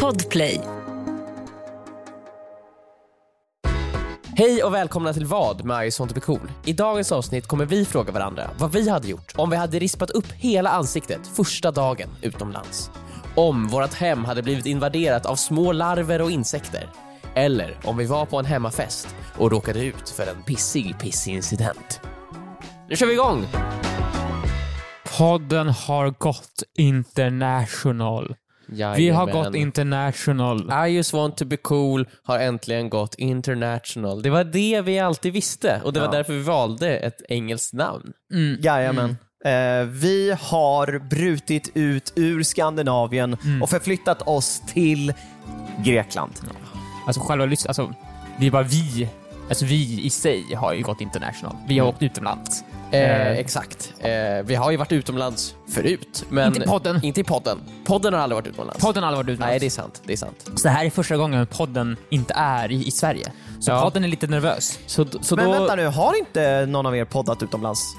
Podplay. Hej och välkomna till vad med I just want to be cool. I dagens avsnitt kommer vi fråga varandra vad vi hade gjort om vi hade rispat upp hela ansiktet första dagen utomlands. Om vårt hem hade blivit invaderat av små larver och insekter. Eller om vi var på en hemmafest och råkade ut för en pissig pissig incident. Nu kör vi igång! Podden har gått international. Vi har gått international. I just want to be cool har äntligen gått international. Det var det vi alltid visste och det var Ja. därför vi valde ett engelskt namn. Jajamän. Mm. Eh, vi har brutit ut ur Skandinavien Mm. och förflyttat oss till Grekland. Alltså själva lys- alltså det är bara vi. Alltså vi i sig har ju gått international. Vi Mm. har åkt utomlands. Eh, Eh. exakt. Eh, vi har ju varit utomlands förut. Men Inte i podden. Inte i podden. Podden har aldrig varit utomlands. Podden har aldrig varit utomlands. Nej, det är sant. Det är sant. Så det här är första gången podden inte är i, i Sverige. Så Ja. podden är lite nervös. Så, så Men då... vänta nu, har inte någon av er poddat utomlands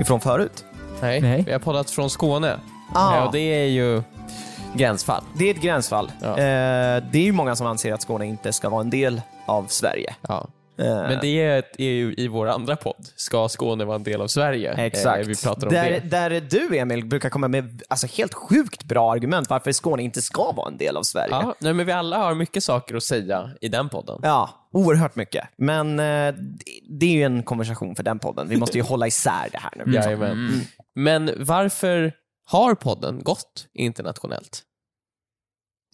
ifrån förut? Nej, Nej. vi har poddat från Skåne. Ah. Ja, och det är ju gränsfall. Det är ett gränsfall. Ja. Eh, det är ju många som anser att Skåne inte ska vara en del av Sverige. Ja. Eh, Men det är, ett, är ju i vår andra podd, Ska Skåne vara en del av Sverige? Exakt. Eh, vi pratar om där, det. där du Emil brukar komma med alltså, helt sjukt bra argument varför Skåne inte ska vara en del av Sverige. Ja, nej, men vi alla har mycket saker att säga i den podden. Ja, oerhört mycket. Men eh, det- det är ju en konversation för den podden. Vi måste ju hålla isär det här nu. Jajamän. Men varför har podden gått internationellt?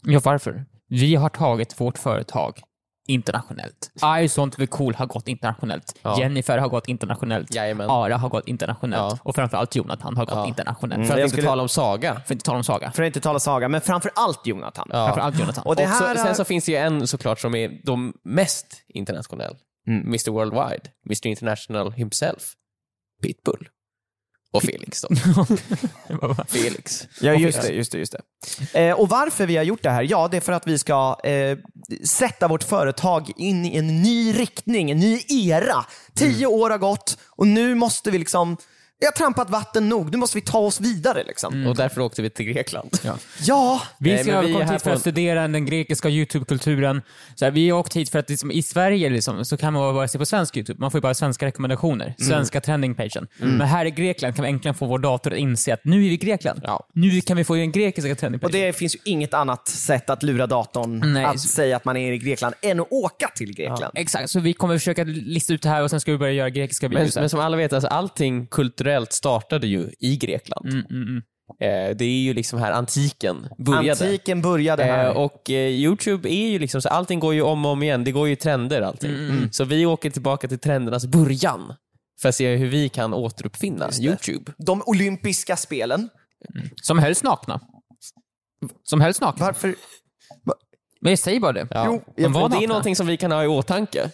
Ja, varför? Vi har tagit vårt företag internationellt. I sånt vi cool har gått internationellt. Ja. Jennifer har gått internationellt. Jajamän. Ara har gått internationellt. Ja. Och framförallt Jonathan har gått Ja. Mm. internationellt. För att jag inte skulle- tala om Saga. För att inte tala om Saga. För att inte tala Saga, men framför allt Jonathan. Ja. Framförallt Jonathan. Och det och här så, är- sen så finns det ju en såklart som är de mest internationell. Mm. Mr Worldwide, Mr International himself, Pitbull. Och Felix då. Felix. Ja, just det. Just det, just det. Eh, och varför vi har gjort det här? Ja, det är för att vi ska eh, sätta vårt företag in i en ny riktning, en ny era. Tio år har gått och nu måste vi liksom, vi har trampat vatten nog, nu måste vi ta oss vidare. Liksom. Och därför åkte vi till Grekland. Ja, Vi Nej, ska men ha Mm. vi är kommit här hit på för att en- studera den grekiska YouTube-kulturen. Så här, vi har åkt hit för att liksom, i Sverige liksom, så kan man bara se på svensk YouTube. Man får ju bara svenska rekommendationer, Mm. svenska trendingpagen. Men här i Grekland kan vi äntligen få vår dator att inse att nu är vi i Grekland. Nu kan vi få ju den grekiska och trendingpagen. det finns ju inget annat sätt att lura datorn Nej. att säga att man är i Grekland än att åka till Grekland. Exakt, så vi kommer försöka lista ut det här och sen ska vi börja göra grekiska Men, videos. här. men som alla vet, alltså, allting kulturellt startade ju i Grekland. Mm, Eh, det är ju liksom här antiken började. Antiken började här. Eh, och eh, Youtube är ju liksom så, allting går ju om och om igen. Det går ju i trender allting. Så vi åker tillbaka till trendernas början för att se hur vi kan återuppfinna Youtube. De olympiska spelen. Som hölls nakna. Som hölls nakna. Varför? Men jag säger bara det. Ja. Jo, De var och det är nakna. någonting som vi kan ha i åtanke.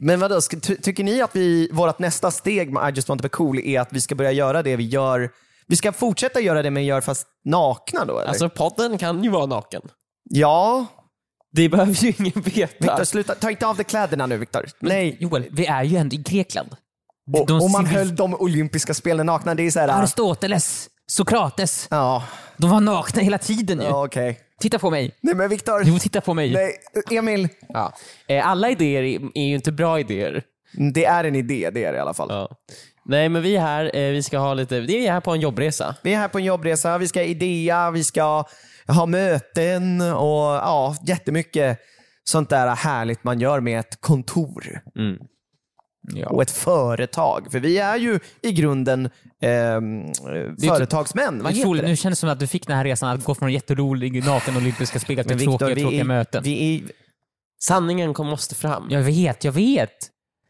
Men vadå, ska- ty- tycker ni att vi, vårt nästa steg med I just want to be cool är att vi ska börja göra det vi gör, vi ska fortsätta göra det men gör fast nakna då eller? Alltså podden kan ju vara naken. ja, Det behöver ju ingen veta. Victor sluta, ta inte av dig kläderna nu Viktor. Nej. Joel, vi är ju ändå i Grekland. Och, och man civil- höll de olympiska spelen nakna, det är såhär... Aristoteles, Sokrates, Ja, de var nakna hela tiden ju. ja okej. Titta på mig. Nej men Viktor, Jo, titta på mig. nej, Emil. Ja. Eh, alla idéer är, är ju inte bra idéer. Det är en idé, det är det i alla fall. Ja. Nej men vi är här, eh, vi ska ha lite, vi är här på en jobbresa. Vi är här på en jobbresa, vi ska idea, vi ska ha möten och ja, jättemycket sånt där härligt man gör med ett kontor och ett företag. För vi är ju i grunden ehm, företagsmän. Vad typ Det är heter otroligt. det? Nu känns det som att du fick den här resan att gå från jätterolig naken olympiska spel till Viktor, tråkiga, vi tråkiga är, möten. Vi är, Sanningen kom, måste fram. Jag vet, jag vet. Men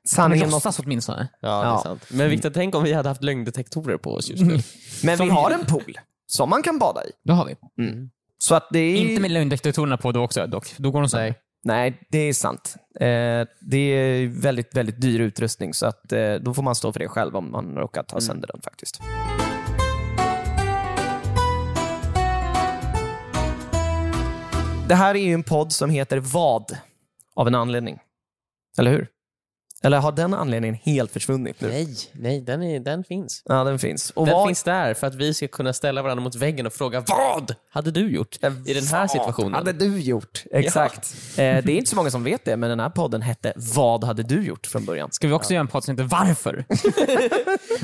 sanningen måste, låtsas åtminstone. Ja, Ja. Det är sant. Mm. Men Viktor, tänk om vi hade haft lögndetektorer på oss just nu. men vi har en pool som man kan bada i. Då har vi. Så att det är... Inte med lögndetektorerna på då också dock. Då går de sönder. Nej, det är sant. Eh, det är väldigt, väldigt dyr utrustning så att, eh, då får man stå för det själv om man råkar Mm. ta sönder den faktiskt. Det här är ju en podd som heter Vad? Av en anledning. Eller hur? Eller har den anledningen helt försvunnit nu? Nej, nej, den, är, den finns. Ja, den finns. Och Den vad- finns där för att vi ska kunna ställa varandra mot väggen och fråga vad hade du gjort i den här Vad situationen? hade du gjort? Exakt. Eh, det är inte så många som vet det, men den här podden hette Vad hade du gjort från början? Ska vi också göra en podd som heter Varför?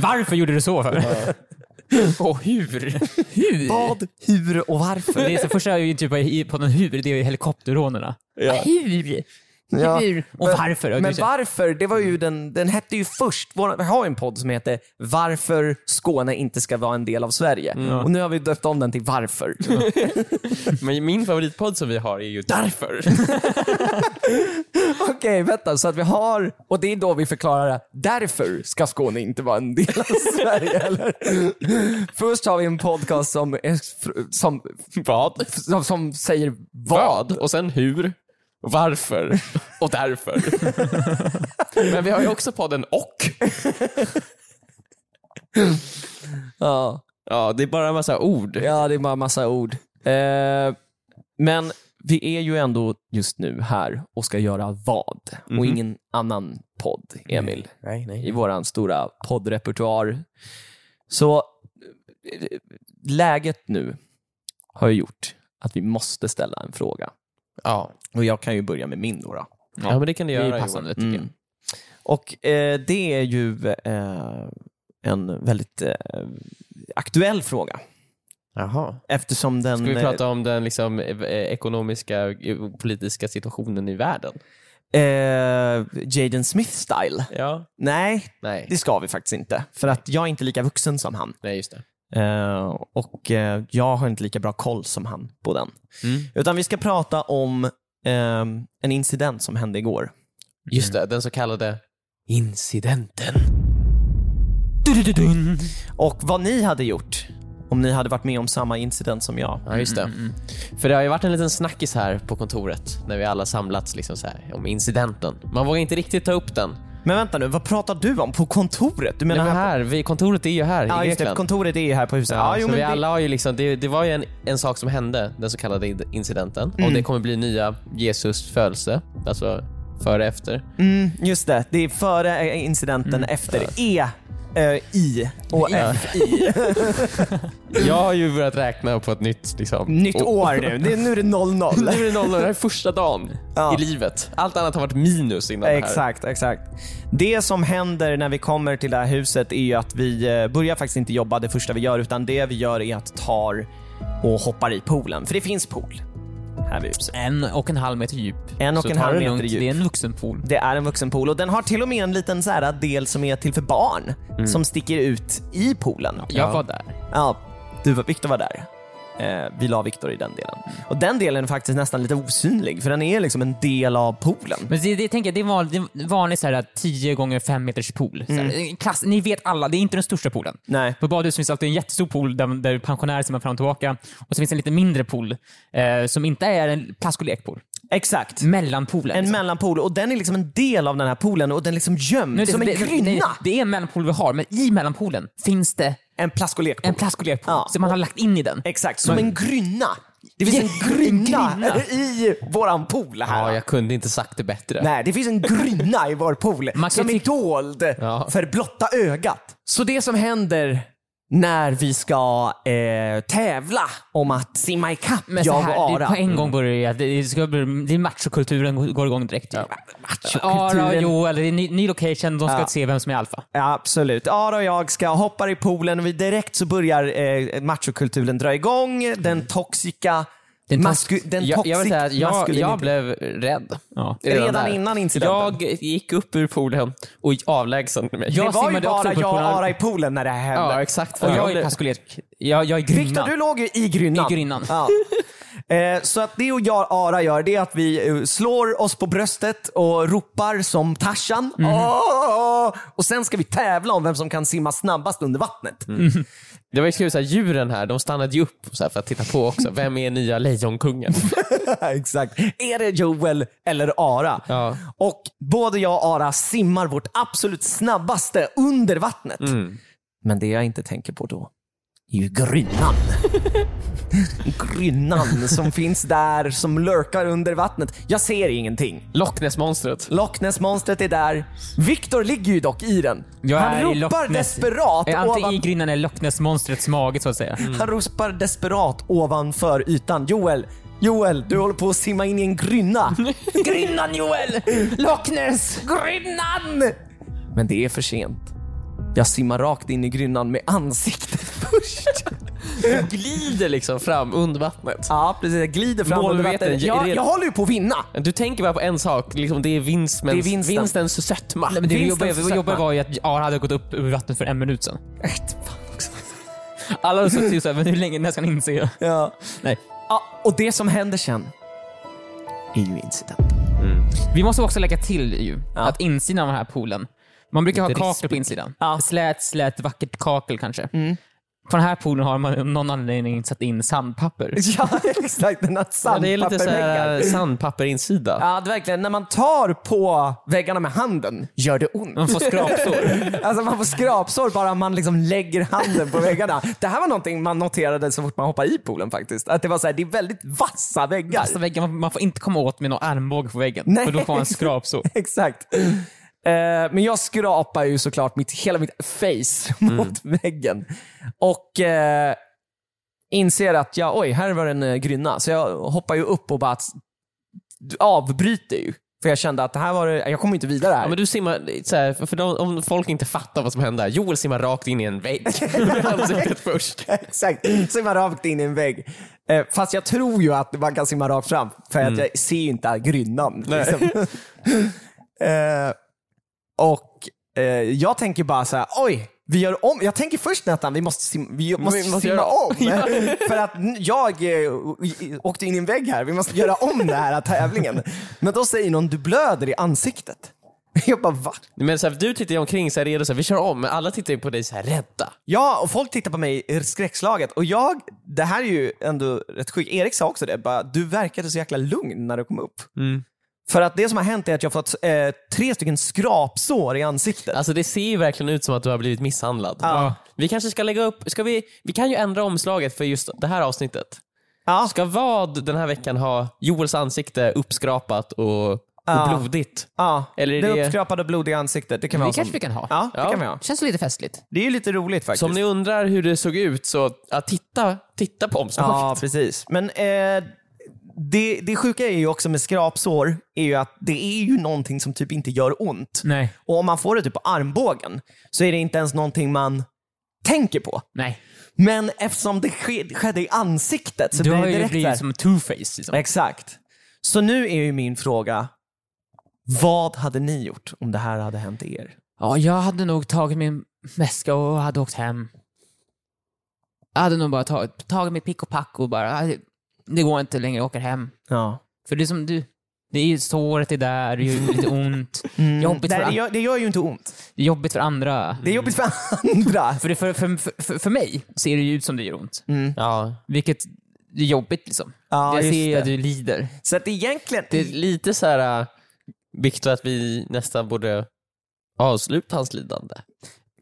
Varför gjorde du så? För? Och hur? Hur? Vad, hur och varför? Det är så, första är ju typ i podden Hur, det är ju helikopterrånarna. Hur? Ja. Hur? Och varför? Men Kanske. varför? Det var ju den, den hette ju först, vår, vi har ju en podd som heter Varför Skåne inte ska vara en del av Sverige. Och nu har vi döpt om den till Varför. Men min favoritpodd som vi har är ju Därför. Okej, vänta. Så att vi har, och det är då vi förklarar därför ska Skåne inte vara en del av Sverige, eller? Först har vi en podcast som, är, fr- som, vad? som, som säger Vad? Och sen hur? Varför? Och därför. Men vi har ju också podden Och. Ja, Ja, det är bara en massa ord. ja det är bara massa ord. Eh, men vi är ju ändå just nu här och ska göra vad? Och ingen annan podd, Emil, Nej, nej. i våran stora poddrepertoar. Så eh, läget nu har ju gjort att vi måste ställa en fråga. Ja, Och jag kan ju börja med min då. då. ja. men det kan du Det göra. är ju passande tycker Mm. Och eh, det är ju eh, en väldigt eh, aktuell fråga. Johan. Jaha. Eftersom den... Ska vi eh, prata om den liksom, eh, ekonomiska och politiska situationen i världen? eh, Jaden Smith-style? Ja. Nej, Nej, det ska vi faktiskt inte. För att jag är inte lika vuxen som han. nej just det. Eh, och eh, jag har inte lika bra koll som han på den. Mm. Utan vi ska prata om ehm, en incident som hände igår. Just det, den så kallade incidenten. jag. Och vad ni hade gjort om ni hade varit med om samma incident som jag. Ja, just det. För det har ju varit en liten snackis här på kontoret när vi alla samlats liksom så här, om incidenten. Man vågar inte riktigt ta upp den. Men vänta nu, vad pratar du om? På kontoret? Du menar Nej, men här på- här, vi, kontoret är ju här Ja, i just det. Grekland. Kontoret är ju här på huset. Ja, jo, så vi det- alla har ju liksom, det, det var ju en, en sak som hände, den så kallade in- incidenten. Och det kommer bli nya Jesus födelse, alltså före efter. mm, just det. Det är före eh, incidenten, Mm. efter E, eh, I och F. Jag har ju börjat räkna på ett nytt... Liksom, Nytt och- år nu. Det är, nu är det 00. Nu är det noll och det här är första dagen Ja. i livet. Allt annat har varit minus innan det här. Exakt, exakt. Det som händer när vi kommer till det här huset är ju att vi eh, börjar faktiskt inte jobba det första vi gör, utan det vi gör är att tar och hoppar i poolen. För det finns pool här vid huset. En och en halv meter djup. En och Så en ta halv det meter lugnt. djup. Det är en vuxenpool. Det är en vuxenpool och den har till och med en liten så här del som är till för barn som sticker ut i poolen. Jag var där. Ja, du var, Victor var där. Eh, vi la Victor i den delen. Och den delen är faktiskt nästan lite osynlig, för den är liksom en del av poolen. Men det, det, tänker jag, det är vanligt, det är vanligt så här, att 10 gånger 5 meters pool. Så här, en Klass, ni vet alla, det är inte den största poolen. Mm. Nej. På badhuset finns alltid en jättestor pool där, där pensionärer simmar fram och tillbaka. Och så finns det en lite mindre pool eh, som inte är en plask och lekpool. Exakt. Mellanpoolen. En liksom. mellanpool och den är liksom en del av den här poolen och den är liksom gömd Nu är som en det, det, grynna. det är en mellanpool vi har, men i mellanpoolen finns det En plask och lekpool. en plask och lekpool Ja. som man har lagt in i den. Exakt, som en grynna. Det finns en en grynna, grynna. i våran pool här. Ja, jag kunde inte sagt det bättre. Nej, det finns en grynna i vår pool Man kan som är tyck- dold Ja. för blotta ögat. Så det som händer när vi ska eh, tävla om att simma ikapp Men så jag här, och det, Ara. Mm. på en gång börjar det, det, ska bli, det är machokulturen går igång direkt. Ja. Ara, Machokulturen. Joel, det är ny, ny location, de ska Ja. se vem som är alfa. Ja, absolut. Ara och jag ska hoppa i poolen och vi direkt så börjar eh, machokulturen dra igång. Den toxiska Den tox- masku- den Jag, jag vill toxic säga att jag, jag maskulinitet. blev rädd. Ja. Redan där. innan incidenten. Jag gick upp ur poolen och avlägsnade mig. Jag Det var ju simmade också bara på jag och poolen. Ara i poolen när det här hände. Ja, exakt. Och Ja. jag är plask och lek. Jag, jag är grymma. Viktor, du låg ju i grynnan. I grynnan. Ja. Eh, Så att det och jag Ara gör det är att vi eh, slår oss på bröstet och ropar som Tarzan. Mhm. Åh! Och sen ska vi tävla om vem som kan simma snabbast under vattnet. Det var ju kul, så här, djuren här, de stannade ju upp så här, för att titta på också. Vem är nya lejonkungen? Exakt. Är det Joel eller Ara? Ja. Och både jag och Ara simmar Mm. vårt absolut snabbaste under vattnet. Men det jag inte tänker på då är ju Grynnan. grynnan som finns där, som lurkar under vattnet. Jag ser ingenting. Loch Ness-monstret. Loch Ness-monstret är där. Victor ligger ju dock i den. Jag han är i ropar Loch Ness. desperat Är Antingen ovan... i grinnan eller Loch Ness-monstrets mage så att säga. Han ropar desperat ovanför ytan. Joel, Joel, du håller på att simma in i en grynna. grynnan Joel! Loch Ness! Grynnan! Men det är för sent. Jag simmar rakt in i grynnan med ansiktet först. Glider liksom fram under vattnet. Ja, precis. Jag glider fram under Målmedveten, vattnet. är Jag, det- jag håller ju på att vinna. Du tänker bara på en sak, liksom det är vinstens, Det är vinsten. vinstens sötma. Men det vi Finns det jobbade, en vi jobbade sötma? var ju att Ara hade gått upp ur vattnet för en minut sedan. Ett fan också. Alla hade suttit såhär, men hur länge, när ska han inse det? Ja. Nej. Ja, och det som händer sen är ju incidenten. Vi måste också lägga till ju, Ja. att insidan av den här poolen, man brukar ha Lite kakel på rispig. insidan. Ja. Mm. Slät, slät, vackert kakel kanske. På den här poolen har man av någon anledning satt in sandpapper. Ja, exakt. Den har Ja, det är lite eh, sandpapperväggar. såhär sandpapperinsida. Ja, det är verkligen. När man tar på väggarna med handen gör det ont. Man får skrapsår. Alltså man får skrapsår bara man liksom lägger handen på väggarna. Det här var någonting man noterade så fort man hoppade i poolen faktiskt. Att det var så här, det är väldigt vassa väggar. Fasta väggar, man, man får inte komma åt med någon armbåge på väggen, Nej. för då får man skrapsår. Exakt. Eh, men jag skrapar ju såklart mitt, hela mitt face mot Mm. väggen. Och eh, inser att jag, oj, här var en eh, grynna. Så jag hoppar ju upp och bara att- avbryter ju. För jag kände att det här var det, jag kommer inte vidare här. Ja, men du simmar, såhär, för de, om folk inte fattar vad som hände här, Joel simmar rakt in i en vägg med ansiktet först. Exakt, simma rakt in i en vägg. Eh, fast jag tror ju att man kan simma rakt fram för att jag ser ju inte grynnan. Liksom. eh, och eh, jag tänker bara så här, oj, vi gör om. Jag tänker först Nathan, vi måste, sim- vi måste, måste simma göra- om. för att n- jag eh, o- i- åkte in i en vägg här, vi måste göra om den här tävlingen. Men då säger någon, du blöder i ansiktet. Jag bara, va? Men såhär, du tittar ju omkring så här redo, så här, vi kör om, men alla tittar ju på dig så här rädda. Ja, och folk tittar på mig skräckslaget. Och jag, det här är ju ändå rätt sjukt. Erik sa också det, bara, du verkade så jäkla lugn när du kom upp. För att det som har hänt är att jag fått eh, tre stycken skrapsår i ansiktet. Alltså det ser ju verkligen ut som att du har blivit misshandlad. Ja. Vi kanske ska lägga upp, ska vi, vi kan ju ändra omslaget för just det här avsnittet. Ja. Ska vad den här veckan ha Joels ansikte uppskrapat och, och Ja. blodigt? Ja, Eller är det det- uppskrapade blodiga ansiktet. Det kan vi Det ha som... kanske vi kan ha. Ja, det Ja. kan vi ha. Känns lite festligt. Det är ju lite roligt faktiskt. Så om ni undrar hur det såg ut, så ja, titta, titta på omslaget. Ja, precis. Men eh, det, det sjuka är ju också med skrapsår, är ju att det är ju någonting som typ inte gör ont. Nej. Och om man får det typ på armbågen så är det inte ens någonting man tänker på. Nej. Men eftersom det ske- skedde i ansiktet så Du blir har det ju direkt där. blivit som two-face. Liksom. Exakt. Så nu är ju min fråga, vad hade ni gjort om det här hade hänt er? Ja, jag hade nog tagit min väska och hade åkt hem. Jag hade nog bara tagit, tagit mitt pick och pack och bara, "Aj, det går inte längre, jag åker hem. Ja. För det är som du, det är ju såret är där, det gör ju lite ont. Det, är jobbigt Mm. för, Nej, det, an- gör, det gör ju inte ont. det är jobbigt för andra. Det är jobbigt för andra. För, det, för, för, för, för, för mig ser det ju ut som det gör ont. Ja. Vilket det är jobbigt liksom. Mm. Ja, jag just ser ju det. att du lider. Så att egentligen... Det är alltså, lite så här, äh, Viktor, att vi nästan borde avsluta hans lidande.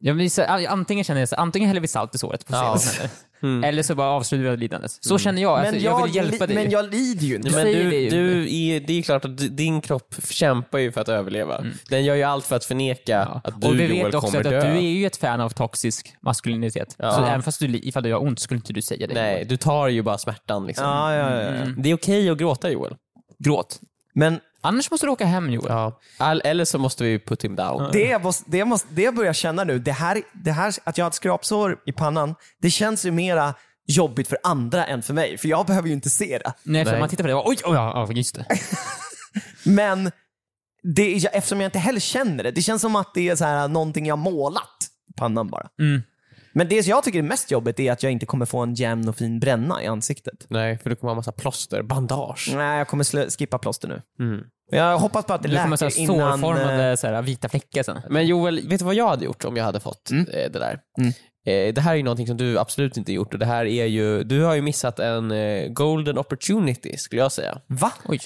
Jag vill, så, antingen känner jag så, antingen häller vi salt i såret på Ja. Mm. scenen, eller så bara avslutar vi lidandet. Så känner jag, alltså, jag, vill hjälpa li- dig. Men jag lider ju inte. Nej, men säger du, det ju. du är, det är klart att d- din kropp kämpar ju för att överleva. Den gör ju allt för att förneka att du Mm. och vi Joel vet också kommer att, dö. att du är ju ett fan av toxisk maskulinitet. Så även fast du, li- ifall du gör ont skulle inte du säga det. Nej, du tar ju bara smärtan. Liksom. Ja, ja, ja, ja. Mm. Det är okej att gråta Joel. Gråt. Men Annars måste du åka hem Joel. Ja. All, eller så måste vi put him down. det, måste, det, måste, det börjar jag känna nu. Det här, det här, att jag har ett skrapsår i pannan, det känns ju mera jobbigt för andra än för mig. För jag behöver ju inte se det. Nej, för Nej. man tittar på det och bara, oj, oj, ja, ja, just det. Men det, jag, eftersom jag inte heller känner det, det känns som att det är så här, äh, någonting jag målat i pannan bara. Mm. Men det som jag tycker är mest jobbigt är att jag inte kommer få en jämn och fin bränna i ansiktet. Nej, för du kommer ha massa plåster, bandage. Mm. Nej, jag kommer slö- skippa plåster nu. Jag hoppas på att det Du kommer ha så här läker innan... eh, sårformade så här, vita fläckar sen. Men Joel, vet du vad jag hade gjort om jag hade fått Mm. eh, det där? Eh, Det här är ju någonting som du absolut inte gjort och det här är ju, du har ju missat en eh, golden opportunity skulle jag säga. Va? Oj.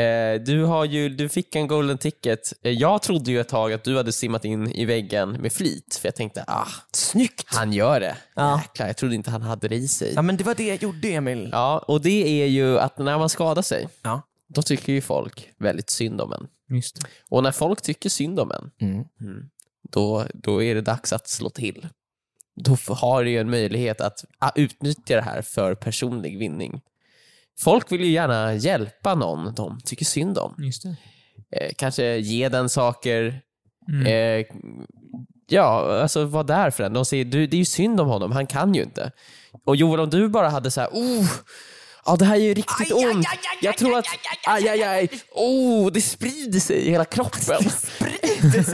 Eh, du, har ju, du fick en golden ticket. Eh, jag trodde ju ett tag att du hade simmat in i väggen med flit, för jag tänkte ah, Snyggt! han gör det. Ja. Jäklar, jag trodde inte han hade det i sig. Ja, men det var det jag gjorde, Emil. Ja, och det är ju att när man skadar sig, Ja. då tycker ju folk väldigt synd om en. Just det. Och när folk tycker synd om en, Mm. då, då är det dags att slå till. Då f- har du ju en möjlighet att ah, utnyttja det här för personlig vinning. Folk vill ju gärna hjälpa någon de tycker synd om. Just det. Eh, kanske ge den saker. Mm. Eh, ja, alltså var där för den. De säger, du, det är ju synd om honom, han kan ju inte. Och Joel, om du bara hade så här, oh, ja det här är ju riktigt Aj, aj, ont. aj, aj, Jag aj, tror aj, att, aj, aj, aj, aj, oh, det sprider sig i hela kroppen. Det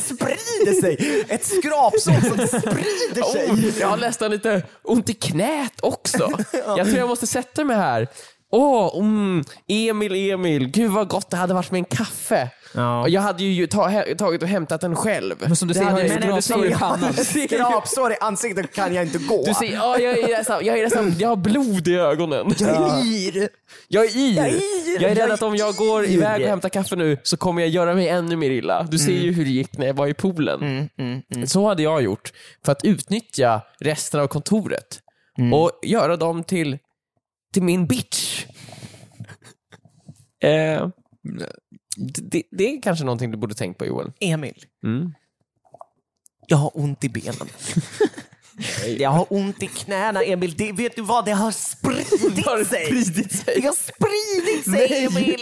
sprider sig! Ett skrapsår som sprider Oh, jag har nästan lite ont i knät också. Jag tror jag måste sätta mig här. Åh, mm, Emil, Emil, gud vad gott det hade varit med en kaffe. Ja. Och Jag hade ju ta, he, tagit och hämtat den själv. Men som du säger, har hade jag jag ett inte skrapsår i gjort. pannan. Du ser ju- Skrapsår i ansiktet kan jag inte gå. Du ser, ja, jag, är nästan, jag, är nästan, jag har blod i ögonen. yr. Jag är yr. Jag är är, yr. rädd Jag att är om jag går yr. Mm. iväg och hämtar kaffe nu så kommer jag göra mig ännu mer illa. Du ser ju hur det gick när jag var i poolen. Så hade jag gjort för att utnyttja resten av kontoret Mm. och göra dem till, till min bitch. eh, det, det är kanske någonting du borde tänkt på Joel. Emil, Mm. jag har ont i benen. Jag har ont i knäna, Emil. Det, vet du vad? Det har spridit sig. Spridit Det sig. har spridit sig, Emil.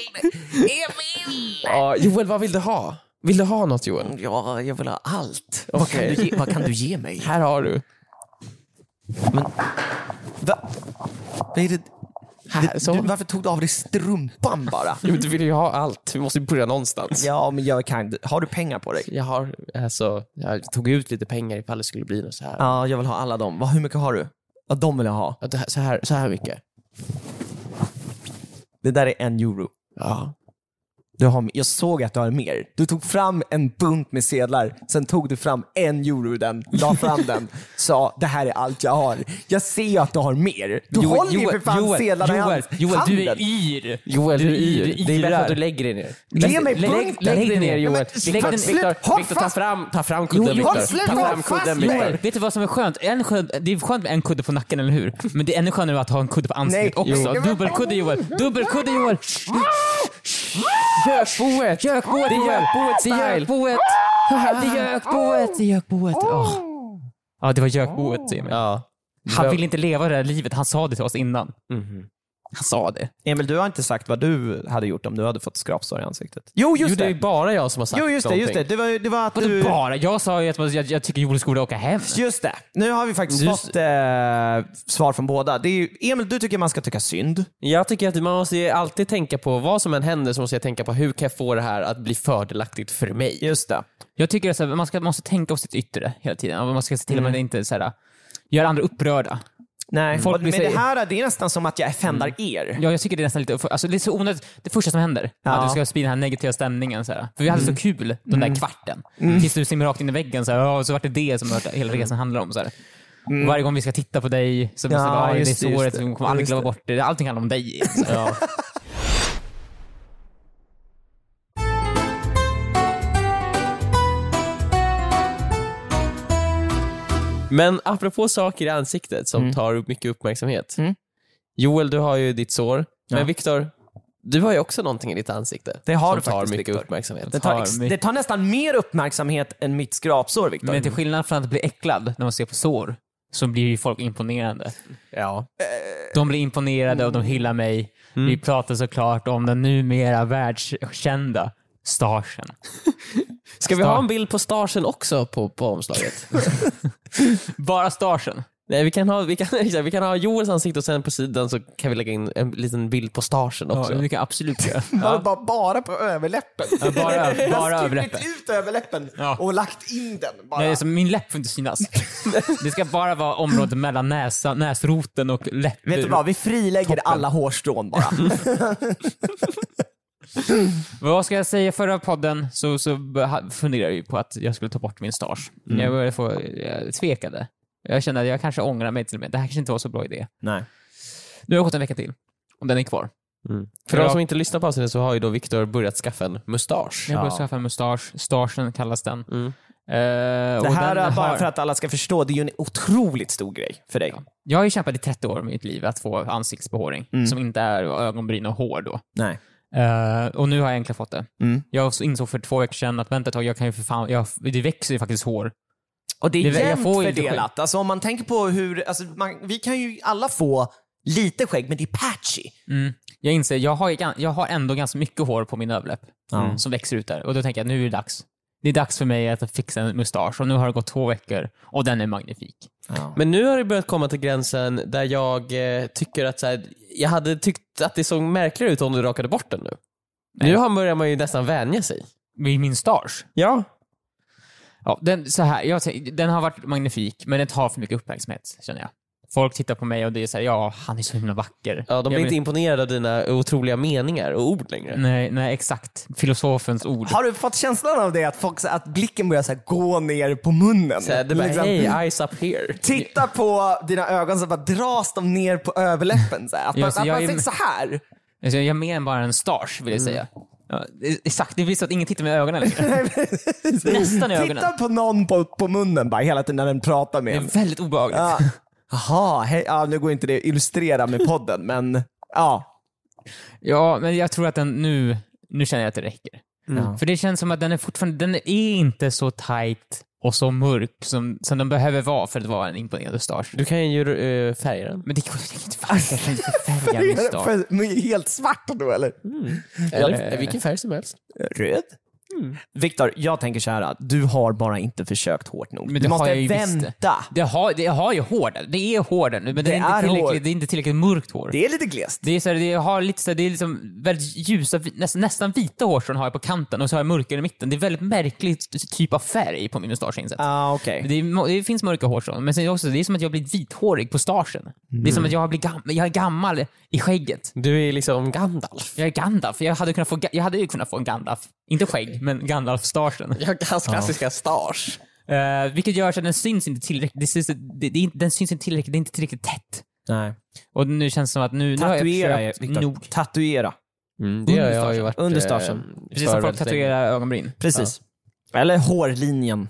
Emil! Ja, Joel, vad vill du ha? Vill du ha något Joel? Ja, jag vill ha allt. Vad, Okej. kan du ge, vad kan du ge mig? Här har du. Va? Vad är det? Här, så. Du, varför tog du av dig strumpan bara? Jo, men Du vill ju ha allt. Vi måste ju börja någonstans. Ja, men jag kan Har du pengar på dig? Jag, har, alltså, jag tog ut lite pengar ifall det skulle bli något så här. Ja, jag vill ha alla dem. Vad- Hur mycket har du? Ja, de vill jag ha. Ja, det här- Så, här så här mycket. Det där är en euro. Ja. Du har, jag såg att du har mer. Du tog fram en bunt med sedlar, sen tog du fram en euro ur den, la fram den, sa det här är allt jag har. Jag ser ju att du har mer. Du håller ju för fan sedlarna i Joel, hand- Joel, du är handen. yr. Joel, du är yr, yr. Det är yrar. bättre att du lägger dig ner. Ge mig lägg, lägg, punkten. lägg dig ner Ja, men Joel. Lägg den, slut. Viktor, Håll Viktor ta fast. fram, ta fram kudden Jo, håll Viktor. slut. Ta Håll fram fast, kudden Joel. Viktor. Joel, vet du vad som är skönt? En skön, det är skönt med en kudde på nacken, eller hur? Men det är ännu skönare att ha en kudde på ansiktet Nej. också. Jo. Dubbelkudde Joel! Dubbelkudde Joel! Gökboet! Gökboet Det är Joel! gökboet Det är style. gökboet! Det är gökboet! Det är gökboet! Åh. Ja, det var gökboet Emil. Ja. Mhm. Han ville inte leva det här livet. Han sa det till oss innan. Han sa det. Emil, du har inte sagt vad du hade gjort om du hade fått skrapsår i ansiktet. Jo, Jo, just det är det. ju bara jag som har sagt Jo, just det. Just det. någonting. Det, var, det var att Vadå du... bara? Jag sa ju att jag, jag tycker Joel skulle åka hem. Just det. Nu har vi faktiskt Just- fått eh, svar från båda. Det är ju, Emil, du tycker man ska tycka synd. Jag tycker att man måste ju alltid tänka på, vad som än händer, så måste jag tänka på hur kan jag få det här att bli fördelaktigt för mig? Just det. Jag tycker att man ska, måste tänka på sitt yttre hela tiden. Man ska se till att Mm. man inte så här, gör andra upprörda. Nej, Folk Mm. men blir Mm. det sig- här det är nästan som att jag offendar er. Ja, jag tycker det är nästan lite... Alltså, det är så onödigt. Det första som händer, att du ska sprida den här negativa stämningen. Så här. För vi hade Mm. så kul den där kvarten. Tills du simmar rakt in i väggen. Så, här, "Ja, och så vart det det som hela Mm. resan handlar om. Så här. Och Varje gång vi ska titta på dig, så måste Ja, vi vara det, det just det, just såret, det. vi kommer aldrig Just glömma det. bort det. Allting handlar om dig. Ja. Men apropå saker i ansiktet Mm. som tar upp mycket uppmärksamhet. Joel, du har ju ditt sår. Men Viktor, du har ju också någonting i ditt ansikte Det har som du tar faktiskt, mycket Viktor. uppmärksamhet. Det tar, Tar ex- mig- det tar nästan mer uppmärksamhet än mitt skrapsår, Viktor. Men till skillnad från att bli äcklad när man ser på sår, så blir ju folk imponerande. Ja. De blir imponerade och de hyllar mig. Mm. Vi pratar såklart om den numera världskända starsen. Ska vi Star- ha en bild på starsen också på, på omslaget? Bara starsen. Nej, vi kan, ha, vi, kan, exakt, vi kan ha Joels ansikte och sen på sidan så kan vi lägga in en liten bild på starsen också. Ja, det kan jag absolut göra. Bara, bara, bara på överläppen. Ja, bara bara överläppen. ut överläppen Ja. och lagt in den. Bara. Nej, alltså, min läpp får inte synas. Det ska bara vara området mellan näsa, näsroten och läppen. Vet du vad, vi frilägger alla hårstrån bara. Mm. Vad ska jag säga? Förra podden så, så beh- funderade jag ju på att jag skulle ta bort min stars. Mm. Jag började få, jag tvekade. Jag kände att jag kanske ångrar mig till och med. Det här kanske inte var så bra idé. Nej. Nu har jag gått en vecka till och den är kvar. Mm. För de som inte lyssnar på avsnittet så har ju då Viktor börjat skaffa en mustasch. Jag började skaffa en mustasch. Staschen kallas den. Eh, och Mm. Det här den är bara har- för att alla ska förstå, det är ju en otroligt stor grej för dig. Jag har ju kämpat i 30 år i mitt liv att få ansiktsbehåring, Mm. som inte är ögonbryn och hår då. Nej. Eh, och nu har jag äntligen fått det. Mm. Jag insåg för två veckor sedan att vänta ett tag, jag kan ju för fan, jag, det växer ju faktiskt hår. Och det är Det- jag jämnt får ju inte fördelat. Alltså, om man tänker på hur, alltså, man, vi kan ju alla få lite skägg, men det är patchy. Mm. Jag inser, jag har, gan- jag har ändå ganska mycket hår på min överläpp mm, som växer ut där. Och då tänker jag, nu är det dags. Det är dags för mig att fixa en mustasch och nu har det gått två veckor och den är magnifik. Men nu har det börjat komma till gränsen där jag eh, tycker att så här, jag hade tyckt att det såg märkligare ut om du rakade bort den nu. Nu har, börjar man ju nästan vänja sig. Vid min stasch. Ja. Ja, den, så här, jag, tänk- den har varit magnifik, men den tar för mycket uppmärksamhet, känner jag. Folk tittar på mig och det är såhär, ja, han är så himla vacker. ja de blir Jag inte imponerade av dina otroliga meningar och ord längre. Nej, nej, exakt. Filosofens ord. Har du fått känslan av det, att, folk, att blicken börjar så här, gå ner på munnen? Så här, det är bara, Liksom, hey, eyes up here. Titta på dina ögon, så bara dras de ner på överläppen. Så här. Att man, Ja, så att jag man är- sitter så här. Alltså, jag är mer än bara en stasch, vill jag Mm. säga. Ja, det- exakt, det visar att ingen tittar med ögonen längre. Nästan i ögonen. Titta på någon på, på munnen bara, hela tiden när den pratar med Det en. är väldigt obehagligt. Ja. Jaha, hej. ja, nu går inte det att illustrera med podden, men ja. Ja, men jag tror att den nu, nu känner jag att det räcker. Mm. För det känns som att den är fortfarande, den är inte så tight och så mörk som, som den behöver vara för att vara en imponerande stasch. Du kan ju eh, färga den. Men det går jag kan inte fan- jag kan inte färga min stasch. För- men Helt svart då eller? Eller eh, vilken färg som helst. Röd? Mm. Viktor, jag tänker så här. Du har bara inte försökt hårt nog. det du har måste jag ju visst. vänta. Det har, det har ju hår där. Det är hår där nu, men det, är Det inte är tillräckligt, hår. det är inte tillräckligt mörkt hår. Det är lite glest. Det är, så här, det har lite så här, det är liksom väldigt ljusa, vi- nästan, nästan vita hårstrån har jag på kanten och så har jag mörkare i mitten. Det är väldigt märklig t- typ av färg på min mustasch har jag insett. Ah, okej. Det, är, mo- det finns mörka hårstrån, men sen är det också, det är som att jag har blivit vithårig på stagen. Det är Mm. som att jag, har blivit gam, jag är gammal i skägget. Du är liksom Gandalf. Jag är Gandalf. Jag hade, kunnat få, ga- jag hade ju kunnat få en Gandalf. Inte skägg, men Gandalf-stagen. Jag har hans klassiska stash. Eh, vilket gör så att den syns inte tillräckligt. Det syns, det, det, är inte- den syns inte tillräckligt. Det är inte tillräckligt tätt. Nej. Och nu känns det som att nu, nu har jag Tatuera, försökt Viktor. nog. Tatuera. det har jag Under ju varit. Under eh, stachen. Precis för som folk väldigt länge. tatuerar ögonbryn. Precis. Eller hårlinjen.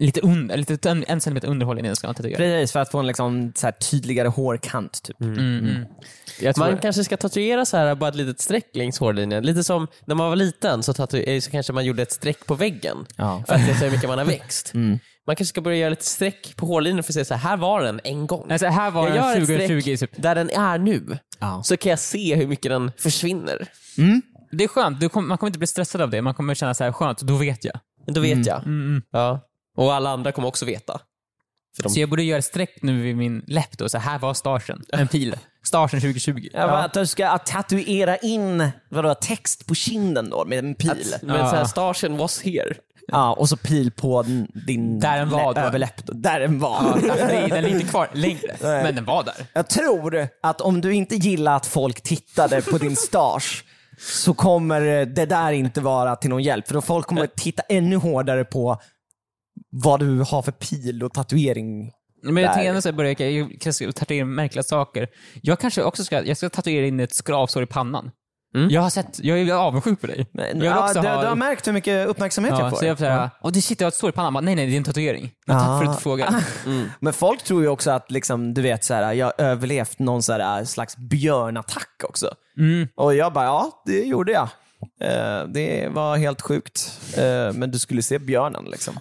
Lite under, lite en, en centimeter underhåll innan jag ska tatuera. Precis, för att få en liksom, så här, tydligare hårkant. Typ. Mm, mm. Jag tror Man kanske ska tatuera så här, bara ett litet streck längs hårlinjen. Lite som när man var liten så, tatu- eh, så kanske man gjorde ett streck på väggen Ja. för att se så hur mycket man har växt. Mm. Man kanske ska börja göra lite streck på hårlinjen för att se så här, här var den en gång. alltså, här var jag gör den ett 2020 typ. streck där den är nu, Ja. så kan jag se hur mycket den försvinner. Det är skönt, du kommer- man kommer inte bli stressad av det. Man kommer känna så här skönt, då vet jag. Då vet jag. Mm. Ja. Och alla andra kommer också veta. Så jag borde göra ett streck nu vid min läpp då, så här var starsen. En pil. Starsen 2020. Ja, men Att du ska att tatuera in vadå, text på kinden då med en pil. Men så här, stagen was here. Ja, och så pil på n- din Där den var lä- då. överläpp. då. Där den var. Alltså, det är- den är inte kvar längre, men den var där. Jag tror att om du inte gillar att folk tittade på din stash så kommer det där inte vara till någon hjälp. För då folk kommer titta ännu hårdare på vad du har för pil och tatuering. Men jag Där. tänker ändå så här, börja, jag kanske ska tatuera in märkliga saker. Jag kanske också ska, jag ska tatuera in ett skrapsår i pannan. Jag har sett, jag är avundsjuk på dig. jag Mm. Men, vill ja, också du, ha... du har märkt hur mycket uppmärksamhet Ja, jag får. så jag såhär, åh det shit jag har ett sår i pannan. Bara, Nej nej, det är en tatuering. Men Tack Ah. för att du frågar. Men folk tror ju också att liksom, du vet, så här, jag har överlevt någon så här, äh, slags björnattack också. Och jag bara, ja det gjorde jag. Eh, det var helt sjukt. Eh, men du skulle se björnen liksom.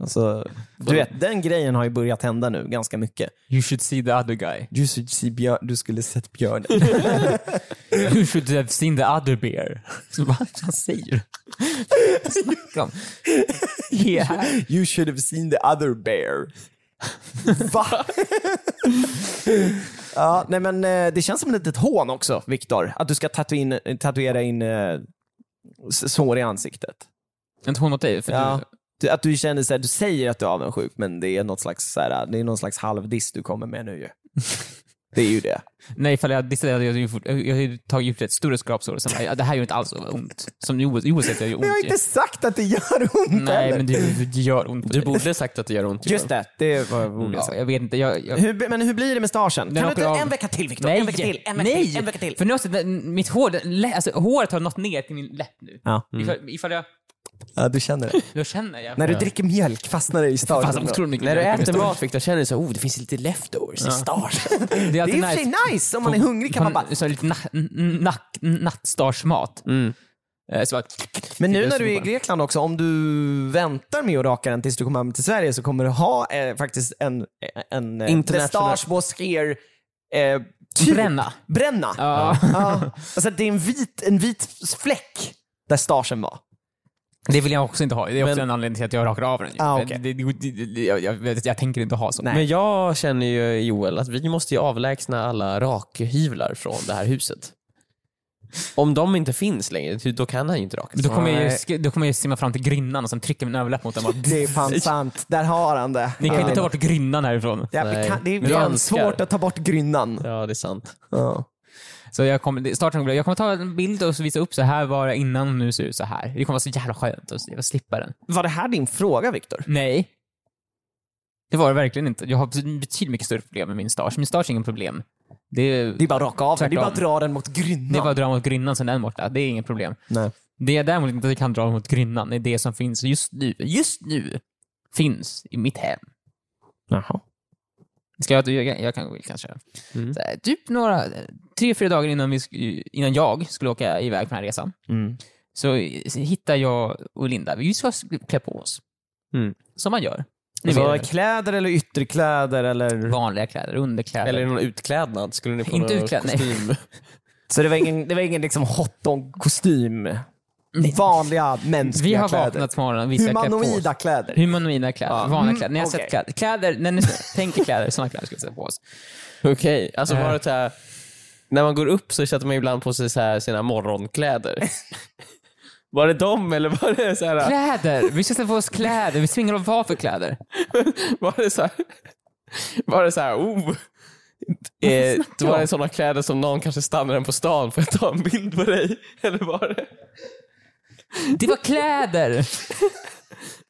Alltså, du vet, den grejen har ju börjat hända nu ganska mycket. You should see the other guy. Du, skulle se björ- du skulle sett björnen. You should have seen the other bear. Så bara, vad säger du? Snacka om. Yeah. You should have seen the other bear. Va? ja, nej men eh, det känns som ett litet hån också, Viktor. Att du ska tatuera in, tatuera in eh, s- sår i ansiktet. Inte hon åt dig? För Ja. du, Du, att du känner så här, du säger att du är avundsjuk, men det är, något slags, så här, det är någon slags halvdiss du kommer med nu ju. Det är ju det. Nej, ifall jag dissade hade jag ju fort- jag hade ju tagit gjort ett större skrapsår och sen bara, ja, det här gör inte alls ont. Som Joel Joel säger att jag gör ont Men jag har ju. inte sagt att det gör ont Nej, heller. men det, det gör ont. på Du dig. borde sagt att det gör ont. Johan. Just det, det var roligt. ja, jag vet inte. Jag, jag... Hur, men hur blir det med stagen? Kan du åker inte av. en vecka till Viktor? Nej! En vecka till, en vecka Nej! till, en vecka till. För nu har jag sett- mitt hår, det- lä- alltså, håret har nått ner till min läpp nu. Ja. Mm. Ifall, ifall jag, Ja, du känner det. då känner jag. När du dricker mjölk fastnar det i stagen. Fast otroligt mycket När du mjölk. äter mat Victor, känner du så här, oh det finns lite leftovers i stagen. det är det är i alltid och för sig nice. nice, om man är hungrig kan man bara... Mm. Så lite na, n- nack, nattstarsmat. Eh, Så bara, Men nu Jag när du är i snor bara. Grekland också, om du väntar med att raka den tills du kommer hem till Sverige så kommer du ha eh, faktiskt en... en eh, International- The Stars was here. Eh, typ. Bränna. Bränna. Ja. Ja. Alltså, det är en vit, en vit fläck där starsen var. Det vill jag också inte ha. Det är också en anledning till att jag rakar av den. ju. Ah, För okej. det, det, det, det, jag, jag, vet- jag tänker inte ha så. Nej. Men jag känner ju Joel att vi måste ju avlägsna alla rakhyvlar från det här huset. Om de inte finns längre, ty- då kan han ju inte raka Men sig. Då kommer, jag ju, Nej. sk- då kommer jag ju simma fram till grinnan och sen trycka min överläpp mot den. och Bara, Det är fan sant. Där har han det. Ni kan Ja. inte ta bort grinnan härifrån. Ja, vi Nej. kan, det är Men jag fan önskar. svårt att ta bort grynnan. Ja, det är sant. Ja. Så jag kommer, det- starten kommer, jag kommer ta en bild och så visa upp så här var jag innan och nu ser det ut så här. Det kommer vara så jävla skönt att jag slippa den. Var det här din fråga Viktor? Nej. Det var det verkligen inte. Jag har bet- betydligt mycket större problem med min stage. Min stage är inget problem. Det är, Det är bara att raka av den. Det är bara att Tvärtom. dra den mot grynnan. det är bara att dra mot grinnan sen den är borta. Det är inget problem. Nej. Det jag däremot inte kan dra mot grinnan är det som finns just nu. Just nu finns i mitt hem. Jaha. Ska jag, jag, jag kan kanske. Mm. Så här, typ några, tre, fyra dagar innan, vi, sk- innan jag skulle åka iväg på den här resan. Mm. så hittar jag och Linda, vi ska klä på oss. Mm. Som man gör. Ni Alltså, vet, kläder eller ytterkläder eller? vanliga kläder, underkläder. Eller någon utklädnad? Skulle ni få Inte någon utklädnad, nej. kostym? Så det var ingen, det var ingen liksom hotdog-kostym? Nej. Vanliga Mm. vi mänskliga har kläder? vaknat på morgonen, vi ska klä på oss. Humanoida kläder? Humanoida kläder, vanliga Mm, kläder. Ni har okej. sett kläder. Kläder, när ni tänker kläder, sådana kläder ska vi sätta på oss. Okej, alltså Eh. var det så här, när man går upp så sätter man ibland på sig så här sina morgonkläder. Var det dem eller var det så här, Kläder! Vi ska sätta på oss kläder, vi svingar om vad för kläder. var det så här, var det så här, oh. Eh, snackar var jag det om? sådana kläder som någon kanske stannar en på stan för att ta en bild på dig? Eller var det Det var kläder!